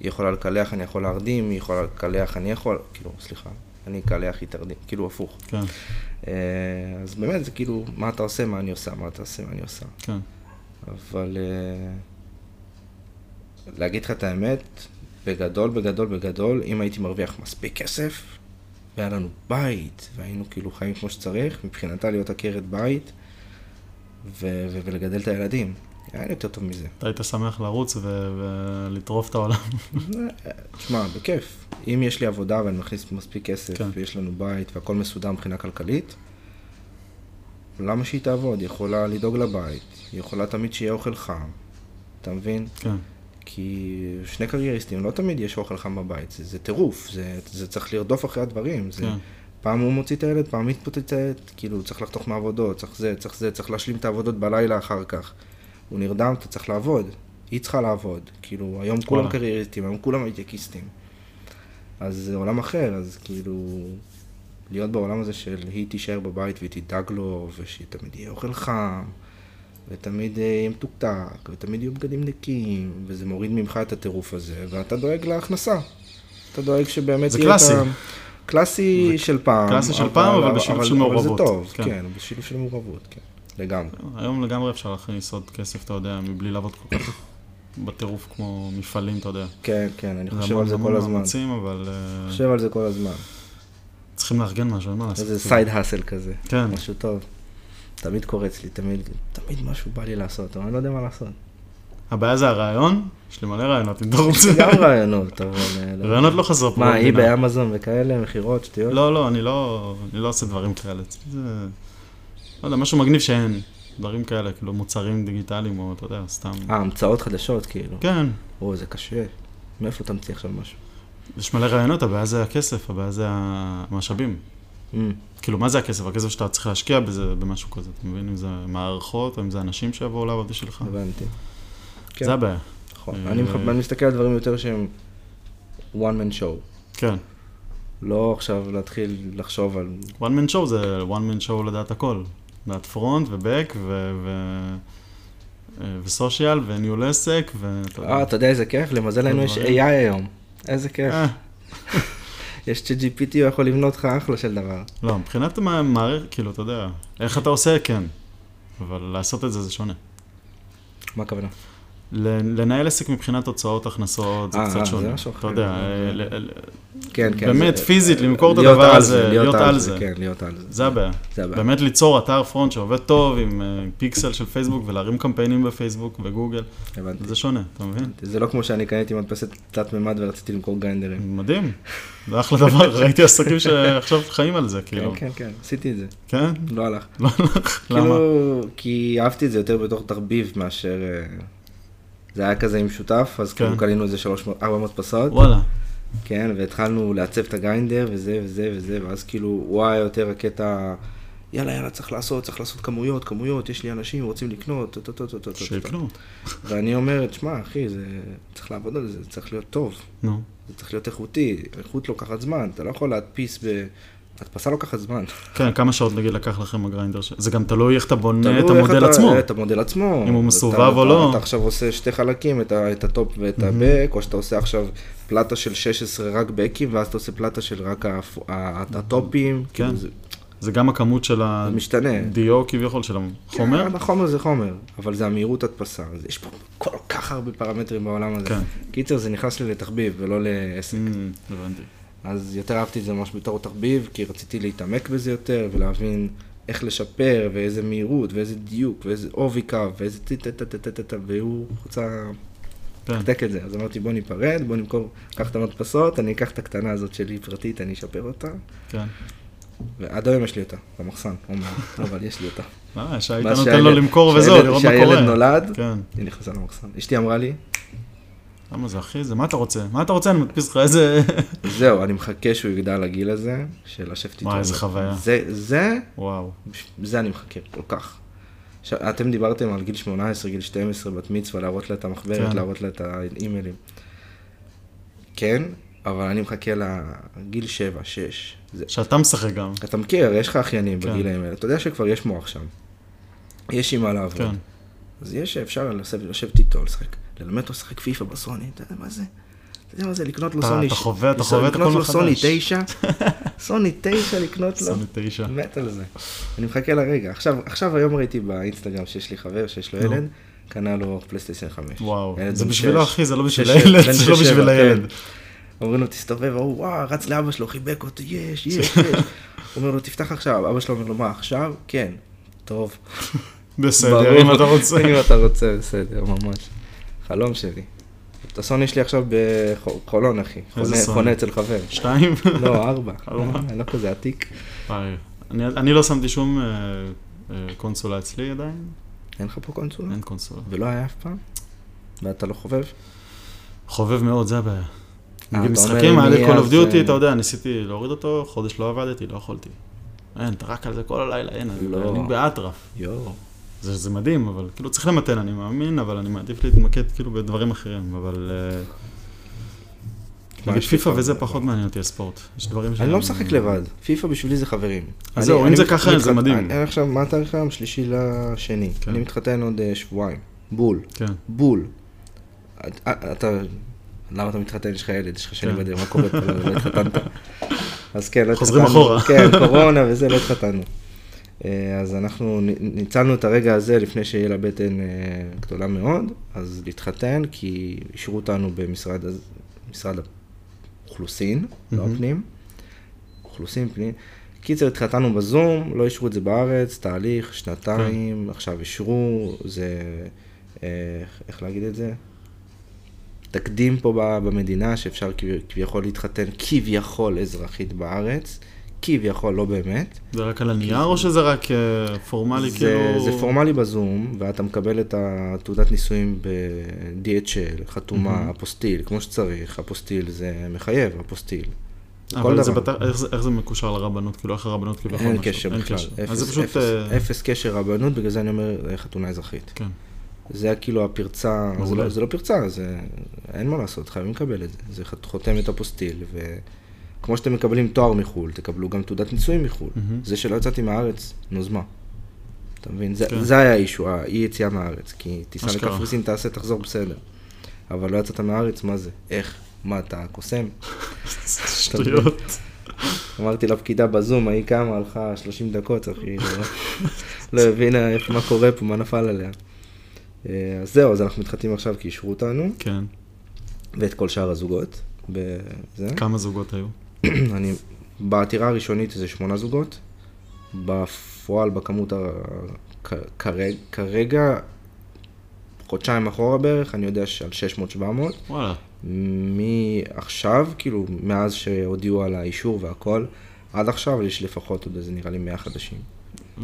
S2: היא יכולה לקלח, אני יכול להרדים, היא יכולה לקלח, אני יכול, כאילו, סליחה, אני אקלח, היא תרדים, כאילו הפוך.
S1: כן,
S2: אה, אז באמת זה כאילו, מה אתה עושה, מה אני עושה, מה אתה עושה, מה אני עושה.
S1: כן.
S2: אבל אה, להגיד לך את האמת, בגדול, בגדול, בגדול, אם הייתי מרוויח מספיק כסף, והיה לנו בית, והיינו כאילו חיים כמו שצריך, מבחינתה להיות עקרת בית, ו- ו- ולגדל את הילדים. היה לי יותר טוב מזה.
S1: אתה היית שמח לרוץ ו- ולטרוף את העולם.
S2: תשמע, בכיף. אם יש לי עבודה ואני מכניס מספיק כסף,
S1: כן.
S2: ויש לנו בית והכל מסודר מבחינה כלכלית, למה שהיא תעבוד? היא יכולה לדאוג לבית, היא יכולה תמיד שיהיה אוכל חם, אתה מבין?
S1: כן,
S2: כי שני קרייריסטים, לא תמיד יש אוכל חם בבית, זה, זה טירוף, זה, זה צריך לרדוף אחרי הדברים. זה,
S1: כן.
S2: פעם הוא מוציא את הילד, פעם היא מתפוצצת, כאילו, צריך לחתוך מעבודות, צריך זה, צריך זה, צריך להשלים את העבודות בלילה אחר כך. הוא נרדם, אתה צריך לעבוד, היא צריכה לעבוד. כאילו, היום כולם
S1: וואלה.
S2: קרייריסטים, היום כולם הייטקיסטים. אז זה עולם אחר, אז כאילו, להיות בעולם הזה של היא תישאר בבית והיא תדאג לו, ושתמיד יהיה אוכל חם, ותמיד אה, יהיה מתוקתק, ותמיד יהיו בגדים נקיים, וזה מוריד ממך את הטירוף הזה, ואתה דואג להכנסה. אתה דואג שבאמת
S1: זה
S2: יהיה את
S1: קלאסי.
S2: ה... קלאסי של פעם.
S1: קלאסי של פעם, אבל בשילוב של מעורבות.
S2: אבל זה טוב,
S1: כן.
S2: כן, בשילוב של מעורבות, כן, לגמרי.
S1: היום לגמרי אפשר להכניס עוד כסף, אתה יודע, מבלי לעבוד כל כך בטירוף כמו מפעלים, אתה יודע.
S2: כן, כן, אני
S1: זה
S2: חושב
S1: המון
S2: על זה
S1: המון
S2: כל הזמן.
S1: מאמצים, אבל... אה,
S2: חושב על זה כל הזמן.
S1: צריכים לארגן משהו, אין מה לעשות.
S2: איזה סייד האסל כזה.
S1: כן.
S2: משהו טוב. תמיד קורץ לי, תמיד, תמיד משהו בא לי לעשות, אבל אני לא יודע מה לעשות.
S1: הבעיה זה הרעיון, יש לי מלא רעיונות, אם אתה רוצה.
S2: גם רעיונות, אבל... אה, לא.
S1: רעיונות לא חזר פה.
S2: מה, היא
S1: במדינה.
S2: באמזון וכאלה, מכירות, שטויות?
S1: לא, לא, אני לא, אני לא עושה דברים כאלה. אצלי זה, לא יודע, משהו מגניב שאין. דברים כאלה, כאילו מוצרים דיגיטליים, או אתה יודע, סתם.
S2: אה, המצאות חדשות, כאילו.
S1: כן,
S2: או, זה קשה. מאיפה תמציא עכשיו משהו?
S1: יש מלא רעיונות, הבעיה זה הכסף, הבעיה זה המשאבים.
S2: אמ,
S1: כאילו, מה זה הכסף? הכסף שאתה צריך להשקיע בזה, במשהו כזה. אתה מבין אם זה מערכות, או אם זה אנשים שיבואו לעבוד בשבילך?
S2: הבנתי. כן.
S1: זה הבעיה,
S2: נכון.
S1: אה,
S2: אני מח- אני מסתכל על דברים יותר שהם one man show.
S1: כן.
S2: לא עכשיו להתחיל לחשוב על...
S1: one man show זה one man show לדעת הכל. לדעת פרונט ובק ו... ו... וסושיאל וניהול עסק ו...
S2: אה, אתה יודע איזה כיף? למזל לנו יש
S1: דברים.
S2: AI היום. איזה כיף.
S1: אה,
S2: יש ChatGPT, הוא יכול לבנות לך אחלה של דבר.
S1: לא, מבחינת המערכת, כאילו, אתה יודע, איך אתה עושה, כן. אבל לעשות את זה זה שונה.
S2: מה הכוונה?
S1: כן, ל- לנהל עסק מבחינת הוצאות, הכנסות, זה
S2: אה, אה,
S1: קצת
S2: זה
S1: שונה.
S2: משהו אחר.
S1: אתה יודע, אה,
S2: זה-
S1: ל- ל-
S2: כן, כן.
S1: באמת,
S2: זה-
S1: פיזית, למכור את
S2: להיות
S1: הדבר
S2: על
S1: הזה, להיות על זה.
S2: כן, להיות על זה.
S1: זה הבעיה.
S2: זה הבעיה.
S1: באמת ליצור אתר פרונט שעובד טוב עם אה, פיקסל של פייסבוק ולהרים קמפיינים בפייסבוק וגוגל,
S2: הבנתי.
S1: זה שונה, אתה מבין?
S2: זה לא כמו שאני קניתי מדפסת תלת-ממד ורציתי למכור גריינדרים.
S1: מדהים, זה אחלה דבר, ראיתי עסקים שעכשיו חיים על זה, כאילו.
S2: כן, כן, כן, עשיתי את זה.
S1: כן?
S2: לא הלך.
S1: לא הלך, למה?
S2: כאילו, כי אהבתי את זה יותר בתור תחביב מאשר... אה, זה היה כזה עם שותף, אז
S1: כן.
S2: כאילו קנינו איזה 300, 400 פסות,
S1: וואלה,
S2: כן, והתחלנו לעצב את הגריינדר וזה וזה וזה, ואז כאילו, הוא היה יותר הקטע, יאללה, יאללה, צריך לעשות, צריך לעשות כמויות, כמויות, יש לי אנשים רוצים לקנות, טו, טו, טו, טו, טו, טו, טו.
S1: שיקנו,
S2: ואני אומר, תשמע, אחי, זה... צריך לעבוד על זה, זה צריך להיות טוב.
S1: נו.
S2: זה צריך להיות איכותי, איכות לוקחת זמן, אתה לא יכול להדפיס ב... הדפסה לוקחת זמן.
S1: כן, כמה שעות נגיד לקח לכם הגריינדר ש... זה גם תלוי איך אתה בונה
S2: תלוי
S1: את
S2: איך
S1: המודל
S2: אתה- אה,
S1: עצמו.
S2: את המודל עצמו.
S1: אם הוא
S2: אתה-
S1: מסובב
S2: אתה-
S1: או לא.
S2: אתה עכשיו עושה שתי חלקים, את ה- את הטופ ואת הבק, או שאתה עושה עכשיו פלטה של 16 רק בקים, ואז אתה עושה פלטה של רק הפ- ה- הטופים.
S1: כן.
S2: כאילו, זה-
S1: זה גם הכמות של
S2: זה משתנה.
S1: הדיו כביכול, של החומר.
S2: כן, החומר זה חומר, אבל זה המהירות הדפסה. אז יש פה כל כך הרבה פרמטרים בעולם הזה.
S1: כן.
S2: קיצר, זה נכנס לי לתחביב ולא לעסק.
S1: אמ, הבנתי.
S2: אז יותר אהבתי את זה ממש בתור תחביב, כי רציתי להתעמק בזה יותר, ולהבין איך לשפר, ואיזה מהירות, ואיזה דיוק, ואיזה עובי קו, ואיזה טה-טה-טה-טה-טה, והוא רצה
S1: כן.
S2: לתקתק את זה. אז אמרתי, בוא ניפרד, בוא נמכור, קח את המדפסות, אני אקח את הקטנה הזאת שלי פרטית, אני אשפר אותה,
S1: כן.
S2: ועד היום יש לי אותה, במחסן, אומר, אבל יש לי אותה.
S1: אה, שהיית
S2: ואז
S1: נותן
S2: שהילד-
S1: לו למכור
S2: שהילד-
S1: וזהו, לראות מה קורה.
S2: שהילד נולד,
S1: כן.
S2: היא נכנסה למחסן. אשתי אמרה לי,
S1: למה זה אחי? זה מה אתה רוצה? מה אתה רוצה? אני מדפיס לך איזה...
S2: זהו, אני מחכה שהוא יגדל לגיל הזה, של לשבת איתו.
S1: וואי, איזה חוויה.
S2: זה, זה...
S1: וואו.
S2: זה אני מחכה כל כך. עכשיו, אתם דיברתם על גיל 18, גיל 12, בת מצווה, להראות לה את המחברת,
S1: כן.
S2: להראות לה את האימיילים. כן, אבל אני מחכה לגיל 7, 6. זה...
S1: שאתה משחק גם.
S2: אתה מכיר, יש לך אחיינים
S1: כן.
S2: בגילאים האלה, אתה יודע שכבר יש מוח שם. יש עם מה לעבוד.
S1: כן.
S2: אז יש שאפשר לשבת, לשבת איתו, לשחק, ללמד אותו לשחק פיפא בסוני, אתה יודע מה זה? אתה יודע מה זה לקנות לו
S1: אתה-
S2: סוני?
S1: אתה
S2: ש-
S1: חווה- אתה
S2: לס-
S1: חווה את הכל
S2: לקנות לו סוני
S1: מחדש.
S2: 9, סוני 9 לקנות לו.
S1: סוני תשע.
S2: מת על זה. אני מחכה לרגע. עכשיו, עכשיו היום ראיתי באינסטגרם שיש לי חבר שיש לו
S1: נו.
S2: ילד, קנה לו פלייסטיישן 5.
S1: וואו.
S2: ילד
S1: זה
S2: בן
S1: בשבילו
S2: שש.
S1: אחי, זה לא בשביל
S2: שש-
S1: הילד.
S2: בן
S1: זה לא
S2: שש,
S1: בשביל
S2: שבע,
S1: הילד.
S2: כן. אומרים לו, תסתובב, ההוא, וואו, רץ לאבא שלו, חיבק אותו, יש, יש, יש. אומר לו, תפתח עכשיו. אבא שלו אומר לו, מה, עכשיו? כן. טוב.
S1: בסדר,
S2: ברור.
S1: אם אתה רוצה.
S2: אם אתה רוצה, בסדר, ממש. חלום שלי. את הסוני שלי עכשיו בחולון, אחי.
S1: איזה
S2: חונה-
S1: סוני?
S2: חונה אצל חבר.
S1: שתיים?
S2: לא, ארבע.
S1: ארבע.
S2: אני לא כזה עתיק.
S1: וואי. אני- אני לא שמתי שום אה, אה, קונסולה אצלי עדיין.
S2: אין לך פה קונסולה?
S1: אין קונסולה.
S2: ולא היה אף פעם? ואתה לא חובב?
S1: חובב מאוד, זה הבעיה. נגיד
S2: אה, אתה אומר,
S1: משחקים, היה לי
S2: אני
S1: Call of
S2: אז,
S1: Duty,
S2: אה,
S1: אתה יודע, ניסיתי להוריד אותו, חודש לא עבדתי, לא יכולתי. אין, אתה רק על זה כל הלילה, אין,
S2: לא.
S1: אני באטרף.
S2: יואו.
S1: זה, זה מדהים, אבל כאילו צריך למתן, אני מאמין, אבל אני מעדיף להתמקד כאילו בדברים אחרים, אבל... אה, נגיד
S2: כן, יש
S1: פיפא
S2: לך?
S1: וזה פחות מעניין אותי הספורט. יש דברים ש...
S2: אני לא משחק לבד, פיפא בשבילי זה חברים. אני-
S1: זהו, אם
S2: אני
S1: זה
S2: מת-
S1: ככה, זה
S2: מתחת-
S1: מדהים.
S2: אני אני עכשיו, מה התאריך היום? שלישי לשני.
S1: כן.
S2: אני מתחתן עוד אה, שבועיים. בול.
S1: כן.
S2: בול. את- את- אתה... למה אתה מתחתן? יש לך ילד, יש לך שני
S1: כן.
S2: בדרך, מה קורה פה? לא התחתנת. אז כן, לא התחתנו.
S1: חוזרים אחורה.
S2: כן, קורונה וזה, לא התחתנו. אה, אז אנחנו נ- ניצלנו את הרגע הזה לפני שיהיה לה בטן אה, גדולה מאוד, אז להתחתן, כי אישרו אותנו במשרד הז- משרד האוכלוסין, לא
S1: מהמם.
S2: הפנים. אוכלוסין, פנים. קיצר, התחתנו בזום, לא אישרו את זה בארץ, תהליך, שנתיים, עכשיו אישרו, זה, אה, איך להגיד את זה? תקדים פה ב- במדינה שאפשר כב- כביכול להתחתן כביכול אזרחית בארץ, כביכול, לא באמת.
S1: זה רק על הנייר או שזה רק אה, פורמלי,
S2: זה,
S1: כאילו...
S2: זה פורמלי בזום, ואתה מקבל את התעודת נישואים ב-DHL, חתומה, אפוסטיל, כמו שצריך, אפוסטיל זה מחייב, אפוסטיל.
S1: אבל זה בת... איך, זה, איך זה מקושר לרבנות? כאילו, איך הרבנות כאילו
S2: אין קשר בכלל,
S1: אז זה
S2: אפס,
S1: פשוט...
S2: אפס,
S1: אה,
S2: אפס קשר רבנות, בגלל זה אני אומר אה, חתונה אזרחית.
S1: כן.
S2: זה היה כאילו הפרצה, זה
S1: מעולה.
S2: לא, זה לא פרצה, זה... אין מה לעשות, חייבים לקבל את זה. זה ח- חותמת אפוסטיל, וכמו שאתם מקבלים תואר מחו"ל, תקבלו גם תעודת נישואים מחו"ל.
S1: מהמם.
S2: זה שלא יצאתי מהארץ, נו, אז מה? אתה מבין? זה,
S1: כן.
S2: זה היה האישו, האי יציאה מהארץ, כי טיסה
S1: אשכרה.
S2: לקפריסין תעשה, תחזור בסדר. אבל לא יצאת מהארץ, מה זה? איך? מה, אתה קוסם?
S1: שטויות.
S2: אמרתי לפקידה בזום, ההיא קמה, הלכה 30 דקות, אחי, לא- לא הבינה איך, מה קורה פה, מה נפל עליה. אה, אז זהו, אז אנחנו מתחתנים עכשיו כי אישרו אותנו,
S1: כן.
S2: ואת כל שאר הזוגות. בזה.
S1: כמה זוגות היו?
S2: אני, בעתירה הראשונית זה שמונה זוגות, בפועל בכמות ה... כ- כרג- כרגע, חודשיים אחורה בערך, אני יודע שעל 600-700.
S1: וואלה.
S2: מעכשיו, כאילו, מאז שהודיעו על האישור והכל, עד עכשיו יש לפחות עוד איזה נראה לי 100 חדשים.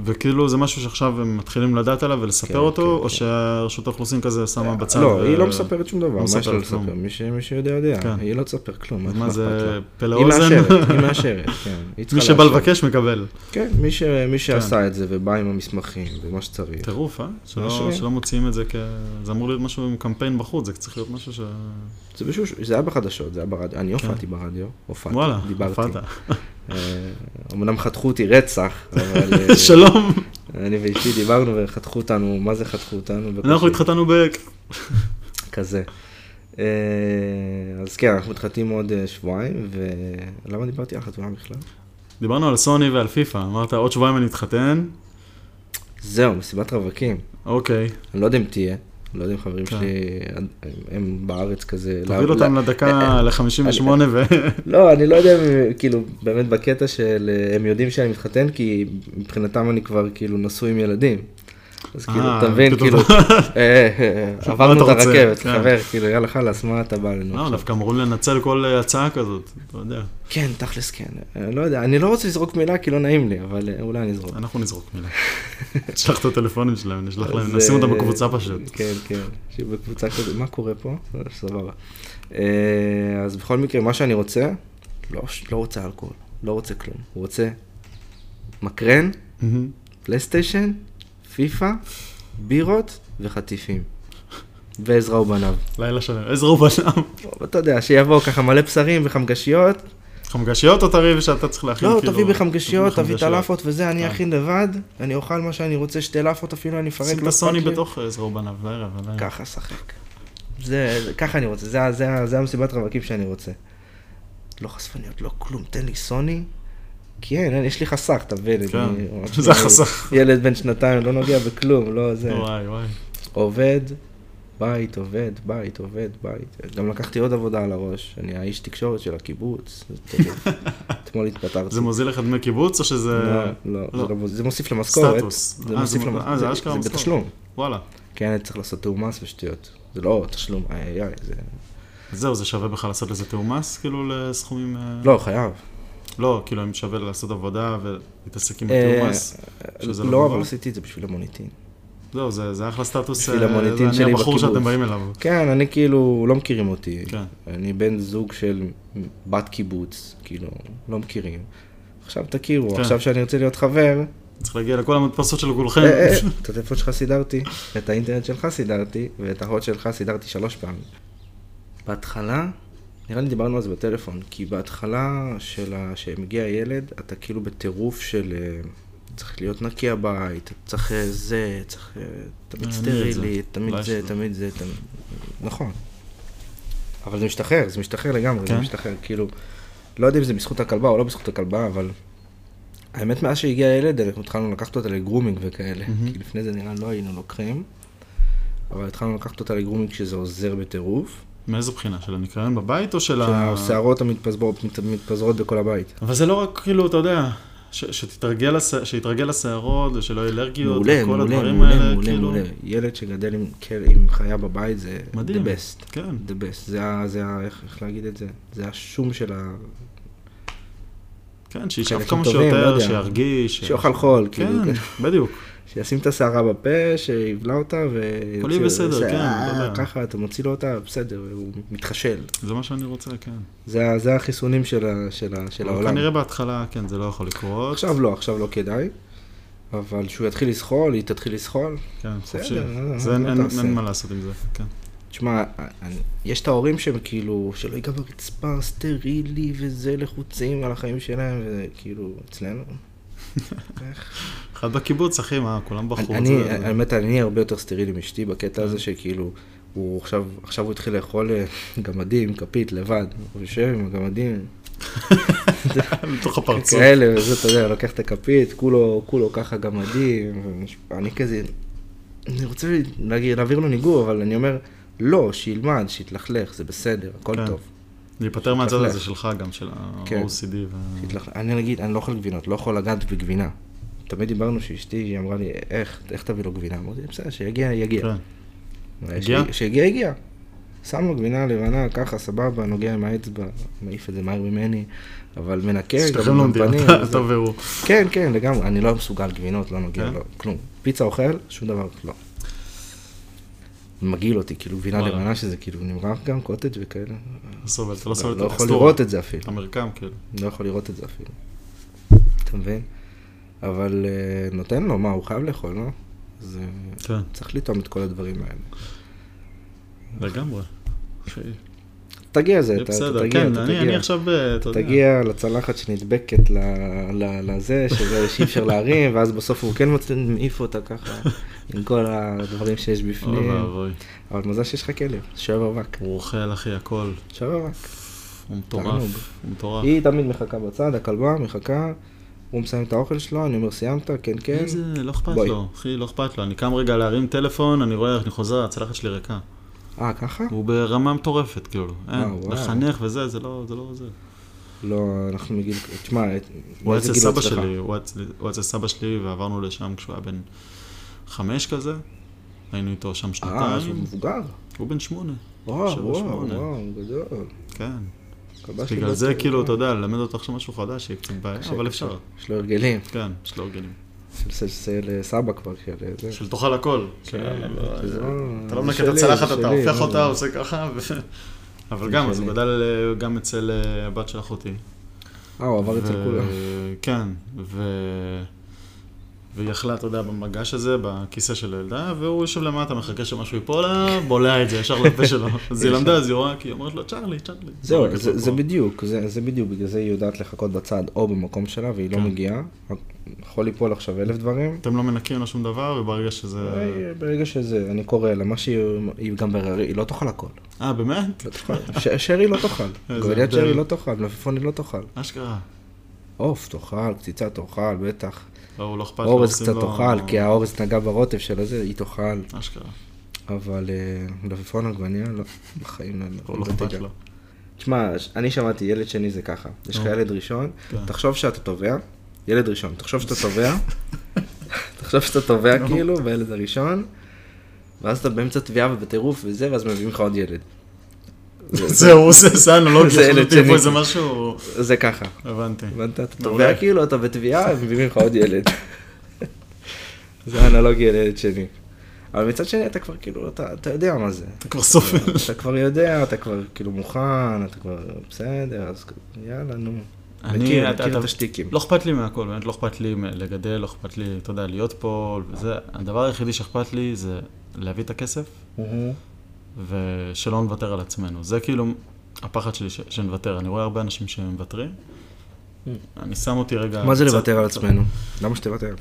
S1: וכאילו זה משהו שעכשיו הם מתחילים לדעת עליו ולספר
S2: כן,
S1: אותו,
S2: כן,
S1: או
S2: כן.
S1: שרשות האוכלוסין כזה שמה בצד?
S2: לא,
S1: ו-
S2: היא לא מספרת שום דבר,
S1: לא
S2: מה יש לה
S1: מספרת כלום.
S2: לספר? מי ש- מי שיודע יודע,
S1: כן.
S2: היא לא תספר כלום,
S1: אז
S2: איך
S1: מה זה,
S2: אכפת לה?
S1: פלא
S2: היא מאשרת,
S1: אוזן?
S2: היא מאשרת, כן. היא צריכה
S1: מי שבא
S2: לאשר.
S1: לבקש מקבל.
S2: כן, מי ש- מי שעשה את זה ובא עם המסמכים ומה שצריך.
S1: טירוף, אה? שלא,
S2: מאשרים.
S1: שלא מוציאים את זה כ... זה אמור להיות משהו עם קמפיין בחוץ, זה צריך להיות משהו ש...
S2: זה מישהו ש- זה היה בחדשות, זה היה ברדיו, אני הופעתי ברדיו, הופעתי,
S1: כן. וואלה,
S2: דיברתי. כן,
S1: הופעת.
S2: אה, אמנם חתכו אותי רצח, אבל אה,
S1: שלום,
S2: אני ואשתי דיברנו וחתכו אותנו, מה זה חתכו אותנו?
S1: אנחנו
S2: בקושי.
S1: התחתנו ב...
S2: כזה. אה, אז כן, אנחנו מתחתנים עוד אה, שבועיים, ולמה דיברתי על חתונה בכלל?
S1: דיברנו על סוני ועל פיפא, אמרת עוד שבועיים אני אתחתן,
S2: זהו, מסיבת רווקים.
S1: אוקיי,
S2: אני לא יודע אם תהיה, אני לא יודע אם חברים
S1: כן.
S2: שלי, הם- הם בארץ כזה.
S1: תוביל
S2: לא-
S1: אותם
S2: לא-
S1: לדקה ל-58 ו...
S2: לא, אני לא יודע אם, אה, כאילו, באמת בקטע של אה, הם יודעים שאני מתחתן, כי מבחינתם אני כבר כאילו נשוי עם ילדים. אז כאילו,
S1: אה,
S2: אתה מבין,
S1: פתאום-
S2: כאילו, אה, אה,
S1: מה
S2: עברנו את
S1: אתה רוצה?
S2: הרכבת,
S1: כן.
S2: חבר, כאילו, יאללה חלאס, מה אתה בא לנו
S1: לא,
S2: עכשיו?
S1: דווקא אמורים לנצל כל אה, הצעה כזאת, אתה יודע,
S2: כן, תכלס כן. אה, לא יודע, אני לא רוצה לזרוק מילה כי לא נעים לי, אבל אה, אולי אני אזרוק.
S1: אנחנו נזרוק מילה. נשלח את הטלפונים שלהם, נשלח להם,
S2: אז,
S1: נשים אותם
S2: אה,
S1: בקבוצה פשוט.
S2: כן, כן. שבקבוצה כזאת, מה קורה פה? סבבה. אה, אז בכל מקרה, מה שאני רוצה, לא לא רוצה אלכוהול, לא רוצה כלום. הוא רוצה מקרן,
S1: מהמם.
S2: פלייסטיישן, פיפא, בירות וחטיפים. ועזרא ובניו.
S1: לילה שלם, עזר ובנם.
S2: אתה יודע, שיבואו ככה מלא בשרים וחמגשיות,
S1: חמגשיות או תריב שאתה צריך להכין
S2: לא,
S1: כן, כאילו?
S2: תביא בחמגשיות, תביא את הלאפות וזה, אני
S1: כן.
S2: אכין לבד, אני אוכל מה שאני רוצה, שתי לאפות אפילו, אני אפרק.
S1: שים את
S2: לא
S1: הסוני
S2: אכפת לי.
S1: בתוך אה, עזר ובניו לערב, עדיין.
S2: ככה, שחק. זה, זה- ככה אני רוצה, זה ה- זה ה- זה המסיבת רווקים שאני רוצה. לא חשפניות, לא כלום, תן לי סוני. כי אין, אין, יש לי חסך, אתה מבין?
S1: כן,
S2: אני-
S1: זה החסך.
S2: ילד בן שנתיים, לא נוגע בכלום, לא זה.
S1: וואי וואי.
S2: עובד, בית, עובד, בית, עובד, בית. גם לקחתי עוד עבודה על הראש, אני האיש תקשורת של הקיבוץ. זה טירוף. אתמול התפטרתי.
S1: זה מוזיל לך דמי קיבוץ או שזה...
S2: לא, לא,
S1: לא.
S2: זה לא מוז- זה מוסיף למשכורת,
S1: סטטוס.
S2: זה
S1: אה,
S2: מוסיף
S1: זה-
S2: למשכורת,
S1: אה, זה אשכרה
S2: זה
S1: משכורת.
S2: בתשלום,
S1: וואלה.
S2: כן, אני צריך לעשות תיאום מס ושטויות, זה לא תשלום, איי איי איי, זה,
S1: אה. אז זהו, זה שווה בכלל לעשות לזה תיאום מס, כאילו, לסכומים... אה,
S2: לא, חייב,
S1: לא, כאילו, אם שווה לעשות עבודה ולהתעסק עם
S2: אה,
S1: התיאום מס. שזה לא
S2: לא,
S1: גבוה?
S2: אבל עשיתי את זה בשביל המוניטין,
S1: זהו, זה זה אחלה סטטוס.
S2: בשביל
S1: אה,
S2: המוניטין
S1: זה אני
S2: שלי
S1: הבחור שאתם
S2: בקיבוץ.
S1: באים אליו.
S2: כן, אני כאילו, לא מכירים אותי,
S1: כן.
S2: אני בן זוג של בת קיבוץ, כאילו, לא מכירים, עכשיו תכירו,
S1: כן.
S2: עכשיו שאני רוצה להיות חבר,
S1: צריך להגיע לכל המדפסות של כולכם.
S2: אה, אה, אה, את הטלפון שלך סידרתי, את האינטרנט שלך סידרתי, ואת ההוט שלך סידרתי שלוש פעמים. בהתחלה, נראה לי דיברנו על זה בטלפון, כי בהתחלה של ה... שמגיע הילד, אתה כאילו בטירוף של אה, צריך להיות נקי הבית, צריך אה, זה, צריך אה, תמיד
S1: אה, אני את זה.
S2: סטרילי, תמיד
S1: אולי
S2: זה,
S1: שזה.
S2: תמיד זה, תמיד... נכון. אבל זה משתחרר, זה משתחרר לגמרי, זה
S1: כן.
S2: משתחרר, כאילו, לא יודע אם זה בזכות הכלבה או לא בזכות הכלבה, אבל האמת, מאז שהגיע הילד, אנחנו התחלנו לקחת אותה לגרומינג וכאלה,
S1: מהמם.
S2: כי לפני זה נראה לא היינו לוקחים, אבל התחלנו לקחת אותה לגרומינג שזה עוזר בטירוף,
S1: מאיזה בחינה? של הניקיון בבית או של ה...
S2: שהשערות המתפזרות מת- מתפזרות בכל הבית.
S1: אבל זה לא רק, כאילו, אתה יודע, ש- שתתרגל לש- שיתרגל לשערות ושלא יהיה אלרגיות,
S2: מעולה,
S1: וכל
S2: מעולה,
S1: כאילו, הדברים
S2: מעולה,
S1: האלה,
S2: מעולה,
S1: כאילו...
S2: מעולה. ילד שגדל עם כל- עם חיה בבית זה
S1: מדהים.
S2: the best.
S1: כן,
S2: the best. זה ה... זה ה... איך איך להגיד את זה? זה השום של ה...
S1: כן, שישאף
S2: חלקים
S1: כמה
S2: טובים, לא
S1: שיותר,
S2: יודע.
S1: שירגיש. ש-
S2: שאוכל חול, כאילו.
S1: כן, בדיוק.
S2: שישים את השערה בפה, שיבלע אותה ו...
S1: הכל יהיה בסדר,
S2: זה-
S1: כן,
S2: אה,
S1: אתה יודע.
S2: ככה, אתה מוציא לו אותה, בסדר, הוא מתחשל.
S1: זה מה שאני רוצה, כן.
S2: זה ה- זה החיסונים של ה- של ה- של
S1: אבל
S2: העולם.
S1: כנראה בהתחלה, כן, זה לא יכול לקרות.
S2: עכשיו לא, עכשיו לא כדאי. אבל שהוא יתחיל לסחול, היא תתחיל לסחול.
S1: כן,
S2: בסדר,
S1: חופשי.
S2: אה,
S1: זה
S2: מה
S1: אין-
S2: אתה
S1: אין-
S2: עושה?
S1: אין מה לעשות עם זה, כן.
S2: תשמע, אני- יש את ההורים שהם כאילו, שלא ייגע ברצפה, סטרילי וזה, לחוצים על החיים שלהם, וכאילו, אצלנו.
S1: אחד בקיבוץ, אחי, מה, כולם בחוץ.
S2: אני,
S1: זה-
S2: האמת, אני הרבה יותר סטרילי מאשתי בקטע הזה
S1: כן.
S2: שכאילו, הוא עכשיו, עכשיו הוא התחיל לאכול אה, גמדים, כפית, לבד. הוא יושב עם הגמדים,
S1: לתוך הפרצוף.
S2: כאלה, וזה, אתה יודע, לוקח את הכפית, כולו, כולו ככה גמדים, אני כזה, אני רוצה להגיד, להעביר לו ניגור, אבל אני אומר, לא, שילמד, שיתלכלך, זה בסדר,
S1: כן.
S2: הכל טוב.
S1: להיפטר מהצד
S2: להתלכלך.
S1: הזה שלך גם, של
S2: כן.
S1: ה-OCD. וה-
S2: שיתלכלך. אני נגיד, אני לא אוכל גבינות, לא יכול לגעת בגבינה. תמיד דיברנו שאשתי, היא אמרה לי, איך, איך תביא לו גבינה? אמרתי, בסדר, שיגיע, יגיע.
S1: כן. הגיע?
S2: הגיע? שהגיע, הגיע. שם לו גבינה לבנה, ככה, סבבה, נוגע עם האצבע, מעיף את זה מהר ממני, אבל מנקה,
S1: שתיכם
S2: כן, גם
S1: לומדים,
S2: בפנים,
S1: אתה-
S2: וזה.
S1: אתה והוא.
S2: כן, כן, לגמרי, אני לא מסוגל גבינות, לא נוגע,
S1: כן?
S2: לא, כלום. פיצה אוכל, שום דבר, לא. מגעיל אותי, כאילו גבינה
S1: וואלה.
S2: לבנה שזה כאילו נמרח גם, קוטג' וכאלה.
S1: לא סובל, אתה לא סובל את
S2: לא יכול
S1: הטקסטורה.
S2: לראות את זה אפילו,
S1: את המרקם, כאילו.
S2: לא יכול לראות את זה אפילו. אתה מבין? אבל אה, נותן לו, מה, הוא חייב לאכול, לא? אז אה,
S1: כן,
S2: צריך לטעום את כל הדברים האלה.
S1: לגמרי. אחי,
S2: תגיע לזה,
S1: זה
S2: אתה אתה
S1: בסדר,
S2: תגיע,
S1: כן,
S2: אתה
S1: אני אני
S2: תגיע.
S1: עכשיו, אה, אתה יודע.
S2: תגיע לצלחת שנדבקת ל- ל- לזה, שזה שאי אפשר להרים, ואז בסוף הוא כן מצליח מעיף אותה ככה, עם כל הדברים שיש
S1: אוי
S2: בפנים.
S1: ואבוי.
S2: אבל מזל שיש לך כלב, שואב אבק.
S1: הוא אוכל, אחי, הכל.
S2: שואב אבק.
S1: הוא מטורף.
S2: תענוג.
S1: הוא מטורף.
S2: היא תמיד מחכה בצד, הכלבה מחכה, הוא מסיים את האוכל שלו, אני אומר, סיימת? כן, כן.
S1: איזה, לא אכפת
S2: בואי.
S1: לו, אחי, לא אכפת לו. אני קם רגע להרים טלפון, אני רואה איך אני חוזר, הצלחת שלי ריקה.
S2: אה, ככה?
S1: הוא ברמה מטורפת, כאילו. אין,
S2: אה, וואו, וואו.
S1: לחנך וזה, זה לא זה. לא זה.
S2: לא, אנחנו מגיל... תשמע, את-
S1: הוא היה
S2: מאיזה
S1: אצל
S2: גיל
S1: סבא
S2: אצלך?
S1: שלי, הוא היה אצל- הוא היה אצל סבא שלי ועברנו לשם כשהוא היה בן חמש כזה. היינו איתו שם
S2: אה, אז הוא
S1: שנתיים.
S2: מבוגר.
S1: הוא בן שמונה,
S2: וואו,
S1: שבע,
S2: וואו,
S1: שמונה.
S2: וואו, גדול.
S1: כן.
S2: הכלבה שלי
S1: בגלל
S2: בת
S1: זה,
S2: שבע.
S1: כאילו, אתה יודע, ללמד אותו עכשיו משהו חדש, יהיה קצת בעיה,
S2: כן. קשה,
S1: אבל
S2: קשה.
S1: אפשר.
S2: יש לו הרגלים.
S1: כן, יש לו הרגלים.
S2: של- של של אה, סבא כבר, של זה.
S1: של תאכל הכל. של-
S2: שזה-
S1: אתה לא
S2: כן, זה
S1: מנקה את
S2: שלי,
S1: הצלחת,
S2: זה
S1: אתה
S2: שלי, אה,
S1: הופך
S2: מה
S1: אותה,
S2: זה?
S1: עושה ככה, ו... אבל
S2: זה
S1: גם, אז
S2: שלי.
S1: הוא גדל אה, גם אצל אה, הבת של אחותי.
S2: אה, הוא עבר אצל
S1: ו-
S2: כולם.
S1: כן, ו... והיא אכלה, אתה יודע, במגש הזה, בכיסא של הילדה, והוא יושב למטה, מחכה שמשהו ייפול לה, בולע את זה ישר לפה שלו. אז היא למדה, אז היא רואה, כי היא אומרת לו, צ'רלי, צ'רלי.
S2: זהו,
S1: זורקת
S2: זה-
S1: לו
S2: זה
S1: פה.
S2: בדיוק, זה זה בדיוק, בגלל זה היא יודעת לחכות בצד או במקום שלה והיא לא
S1: כן.
S2: מגיעה. יכול ליפול עכשיו אלף דברים.
S1: אתם לא מנקים לה שום דבר, וברגע שזה...
S2: אה, ברגע שזה, אני קורא לה, מה שהיא, היא גם בררי, היא לא תאכל הכל.
S1: אה, באמת?
S2: לא תאכל. ש- שרי לא תאכל,
S1: איזה
S2: גוליית שרי
S1: אה, הבדל.
S2: לא תאכל, מלפפון היא לא תאכל.
S1: אשכרה.
S2: עוף תאכל, קציצה תאכל, בטח.
S1: לא, הוא לא אכפת לו,
S2: אורז
S1: עושים
S2: קצת
S1: לו-
S2: תאכל, כי האורז נגע ברוטב של הזה, היא תאכל.
S1: אשכרה,
S2: אבל אה, מלפפון עגבניה, לא, בחיים לא,
S1: הוא לא
S2: לא
S1: אכפת
S2: תיגע.
S1: לו.
S2: תשמע, ש- אני שמעתי, ילד שני זה ככה. יש לך
S1: נו.
S2: ילד ראשון,
S1: כן.
S2: תחשוב שאתה תובע, ילד ראשון, תחשוב שאתה תובע, תחשוב שאתה תובע
S1: נו.
S2: כאילו, בילד הראשון, ואז אתה באמצע תביעה ובטירוף וזה, ואז מביאים לך עוד ילד.
S1: זהו, הוא עושה סאן, לא
S2: זה ילד
S1: חשבתי פה
S2: שני.
S1: איזה משהו,
S2: זה ככה.
S1: הבנתי.
S2: הבנת? אתה
S1: מעולה.
S2: תובע כאילו, אתה בתביעה, ומביאים לך עוד ילד. זה האנלוגיה לילד שני. אבל מצד שני, אתה כבר כאילו, אתה אתה יודע מה זה.
S1: אתה כבר סופר.
S2: אתה כבר יודע, אתה כבר כאילו מוכן, אתה כבר בסדר, אז יאללה, נו. מכיר,
S1: אתה-
S2: מכיר
S1: אתה-
S2: את השטיקים.
S1: לא אכפת לי מהכל, באמת לא אכפת לי מ- לגדל, לא אכפת לי, אתה יודע, להיות פה, וזה, הדבר היחידי שאכפת לי זה להביא את הכסף, ושלא נוותר על עצמנו. זה כאילו הפחד שלי, ש- שנוותר. אני רואה הרבה אנשים שמוותרים.
S2: Mm.
S1: אני שם אותי רגע...
S2: מה זה
S1: קצת-
S2: לוותר על עצמנו? למה שתוותר?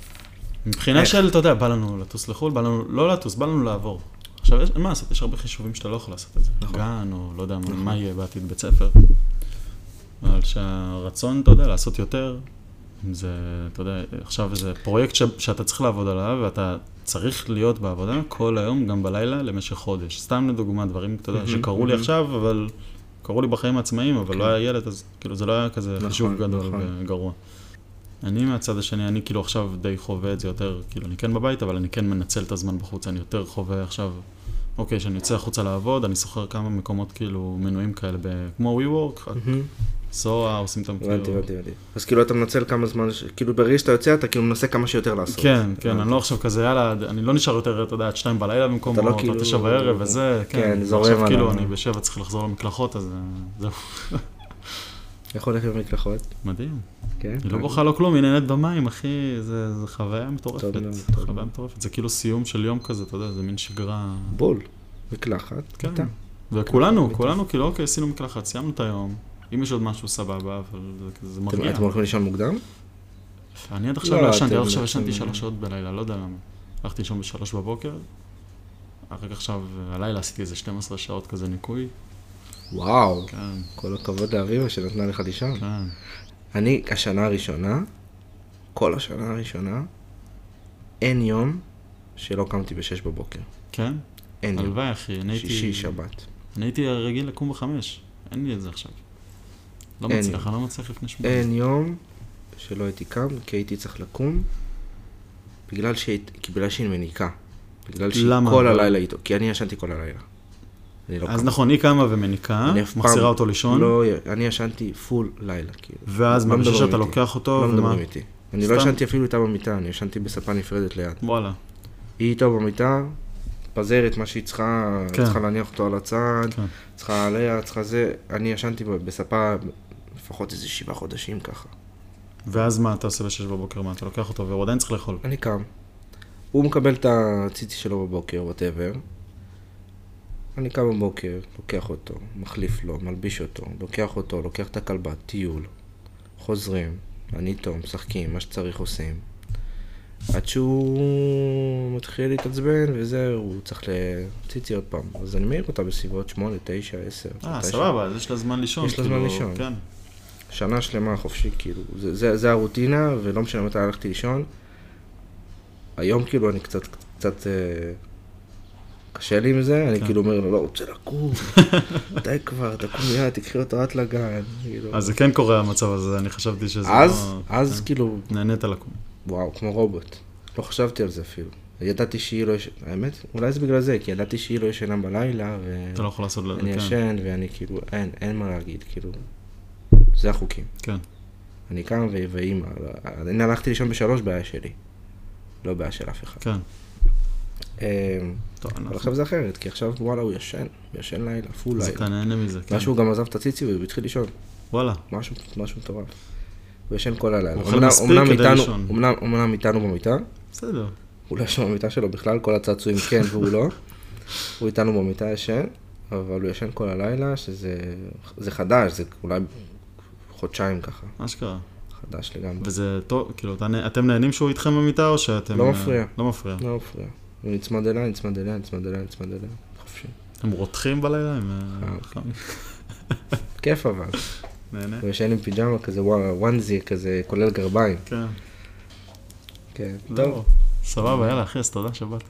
S1: מבחינה
S2: איך?
S1: של, אתה יודע, בא לנו לטוס לחו"ל, בא לנו לא לטוס, בא לנו לעבור. עכשיו, יש, אין מה לעשות, יש הרבה חישובים שאתה לא יכול לעשות את זה.
S2: נכון.
S1: גן, או לא יודע מה,
S2: נכון.
S1: מה יהיה בעתיד בית ספר. אבל שהרצון, אתה יודע, לעשות יותר, אם זה, אתה יודע, עכשיו זה פרויקט ש, שאתה צריך לעבוד עליו, ואתה צריך להיות בעבודה כל היום, גם בלילה, למשך חודש. סתם לדוגמה, דברים, אתה יודע,
S2: מהמם,
S1: שקרו לי
S2: מהמם. כן.
S1: עכשיו, אבל קרו לי בחיים העצמאיים, אבל לא היה ילד, אז כאילו זה לא היה כזה
S2: נכון,
S1: חישוב גדול
S2: נכון.
S1: וגרוע. אני מהצד השני, אני כאילו עכשיו די חווה את זה יותר, כאילו אני כן בבית, אבל אני כן מנצל את הזמן בחוץ, אני יותר חווה עכשיו, אוקיי, כשאני יוצא החוצה לעבוד, אני שוכר כמה מקומות כאילו מנויים כאלה, ב- כמו WeWork,
S2: מהמם.
S1: כאילו- סואה, עושים אותם כאילו...
S2: הבנתי, הבנתי, הבנתי. אז כאילו אתה מנצל כמה זמן, ש- כאילו ברגע שאתה יוצא אתה כאילו מנסה כמה שיותר לעשות.
S1: כן, כן, אני לא עכשיו כזה, יאללה, אני לא נשאר יותר, אתה יודע, עד שתיים בלילה במקום,
S2: אתה לא
S1: או
S2: כאילו-
S1: תשע בערב וזה,
S2: כן,
S1: כן,
S2: זורם
S1: עכשיו
S2: על
S1: כאילו
S2: ה-
S1: אני בשבע צריך לחזור למקלחות, אז אה, זהו,
S2: יכול ללכת במקלחות,
S1: מדהים.
S2: כן.
S1: היא לא בוכה לא כלום, היא נהנית במים, אחי, זה זה חוויה מטורפת,
S2: טוב מאוד,
S1: זה
S2: טוב
S1: חוויה
S2: מאוד.
S1: מטורפת, זה כאילו סיום של יום כזה, אתה יודע, זה מין שגרה,
S2: בול, מקלחת,
S1: כן.
S2: מיטה.
S1: וכולנו,
S2: מיטה.
S1: כולנו כאילו, אוקיי, עשינו מקלחת, סיימנו את היום, אם יש עוד משהו, סבבה, אבל זה כזה- זה
S2: אתם
S1: מרגיע.
S2: אתם הולכים לישון מוקדם?
S1: אני עד עכשיו
S2: לא,
S1: לא ישנתי,
S2: אתם-
S1: עד עכשיו ישנתי
S2: אתם-
S1: שלוש שעות בלילה, לא יודע למה. הלכתי לישון בשלוש בבוקר, אחר כך עכשיו, אה, הלילה עשיתי איזה 12 שעות כזה ניקוי.
S2: וואו,
S1: כן,
S2: כל הכבוד לאביבה שנתנה לך לישון.
S1: כן.
S2: אני, השנה הראשונה, כל השנה הראשונה, אין יום שלא קמתי ב-6 בבוקר.
S1: כן?
S2: אין יום.
S1: הלוואי, אחי, אני
S2: שישי,
S1: הייתי...
S2: שבת.
S1: אני הייתי רגיל לקום בחמש, אין לי את זה עכשיו. לא
S2: אין.
S1: מצליח, אני לא מצליח לפני שמונה.
S2: אין יום שלא הייתי קם, כי הייתי צריך לקום, בגלל שהיא, כי בגלל שהיא מניקה. בגלל שהיא
S1: למה?
S2: כל הלילה איתו, כי אני ישנתי כל הלילה. אני לא
S1: אז
S2: קם.
S1: נכון, היא קמה ומניקה,
S2: אני אף פעם
S1: מחזירה אותו לישון,
S2: לא, אני ישנתי פול לילה, כאילו.
S1: ואז
S2: לא
S1: מרגישה
S2: מדברים
S1: שאתה
S2: איתי.
S1: לוקח אותו,
S2: לא
S1: ומה?
S2: מדברים איתי. אני לא
S1: סתם.
S2: ישנתי אפילו איתה במיטה, אני ישנתי בספה נפרדת ליד.
S1: וואלה,
S2: היא איתו במיטה, פזרת מה שהיא צריכה,
S1: כן.
S2: צריכה להניח אותו על הצד,
S1: כן.
S2: צריכה עליה, צריכה זה. אני ישנתי ב- בספה לפחות איזה שבעה חודשים ככה.
S1: ואז מה אתה עושה בשש בבוקר, מה, אתה לוקח אותו והוא עדיין צריך לאכול.
S2: אני קם. הוא מקבל את הציצי שלו בבוקר, וואטאבר. אני קם בבוקר, לוקח אותו, מחליף לו, מלביש אותו, לוקח אותו, לוקח את הכלבה, טיול. חוזרים, אני איתו, משחקים, מה שצריך עושים. עד שהוא מתחיל להתעצבן וזה, הוא צריך לציצי עוד פעם. אז אני מעיר אותה בסביבות 8, 9, 10.
S1: אה,
S2: מתי ש-
S1: סבבה, אז יש לה זמן לישון.
S2: יש לה זמן
S1: כאילו,
S2: לישון.
S1: כן.
S2: שנה שלמה חופשי, כאילו, זה, זה, זה הרוטינה, ולא משנה מתי הלכתי לישון. היום כאילו אני קצת, קצת, אה, קשה לי עם זה,
S1: כן.
S2: אני כאילו אומר לו, לא רוצה לקום, די כבר, תקום מיד, תקחי אותו את לגן, כאילו.
S1: אז זה כן קורה המצב הזה, אני חשבתי שזה
S2: אז,
S1: לא...
S2: אז כאילו,
S1: נהנית לקום.
S2: וואו, כמו רובוט. לא חשבתי על זה אפילו. ידעתי שהיא לא ישנה, האמת, אולי זה בגלל זה, כי ידעתי שהיא לא ישנה בלילה, ו...
S1: אתה לא יכול לעשות לזה,
S2: אני
S1: כן.
S2: ישן, ואני כאילו, אין, אין מה להגיד, כאילו, זה החוקים.
S1: כן.
S2: אני קם ו- ואימא, לא, אני הלכתי לישון בשלוש בעיה שלי, לא בעיה של אף אחד.
S1: כן.
S2: אמ,
S1: טוב,
S2: אבל
S1: אנחנו...
S2: עכשיו זה אחרת, כי עכשיו וואלה הוא ישן, הוא ישן לילה, פול
S1: אז אתה
S2: לילה.
S1: נהנה מזה, כן.
S2: משהו גם עזב את הציצי והוא התחיל לישון,
S1: וואלה,
S2: משהו משהו מטורף. הוא ישן כל הלילה.
S1: אוכל
S2: אמנם-
S1: מספיק
S2: אמנם
S1: כדי
S2: איתנו-
S1: לישון.
S2: אמנם- אמנם איתנו במיטה,
S1: בסדר.
S2: הוא לא ישן במיטה שלו בכלל, כל הצעצועים כן והוא לא. הוא איתנו במיטה ישן, אבל הוא ישן כל הלילה, שזה זה חדש, זה אולי חודשיים ככה,
S1: מה שקרה.
S2: חדש לגמרי.
S1: וזה טוב, כאילו, אתה נה- אתם נהנים שהוא איתכם במיטה, או שאתם...
S2: לא
S1: אה,
S2: מפריע.
S1: לא מפריע.
S2: לא מפריע. הוא נצמד אליי, נצמד אליי, נצמד אליי, נצמד אליי, חופשי.
S1: הם רותחים בלילה, הם... אה,
S2: אה,
S1: חם.
S2: כיף אבל.
S1: נהנה.
S2: הוא ישן עם פיג'מה כזה, וואלה, וונזי כזה, כולל גרביים.
S1: כן.
S2: כן,
S1: זהו. לא. סבבה, יאללה, אחי, אז תודה שבאת.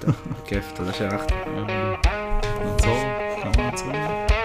S2: טוב, כיף, תודה שערכת.
S1: אה, נעצור. כמה עצורים?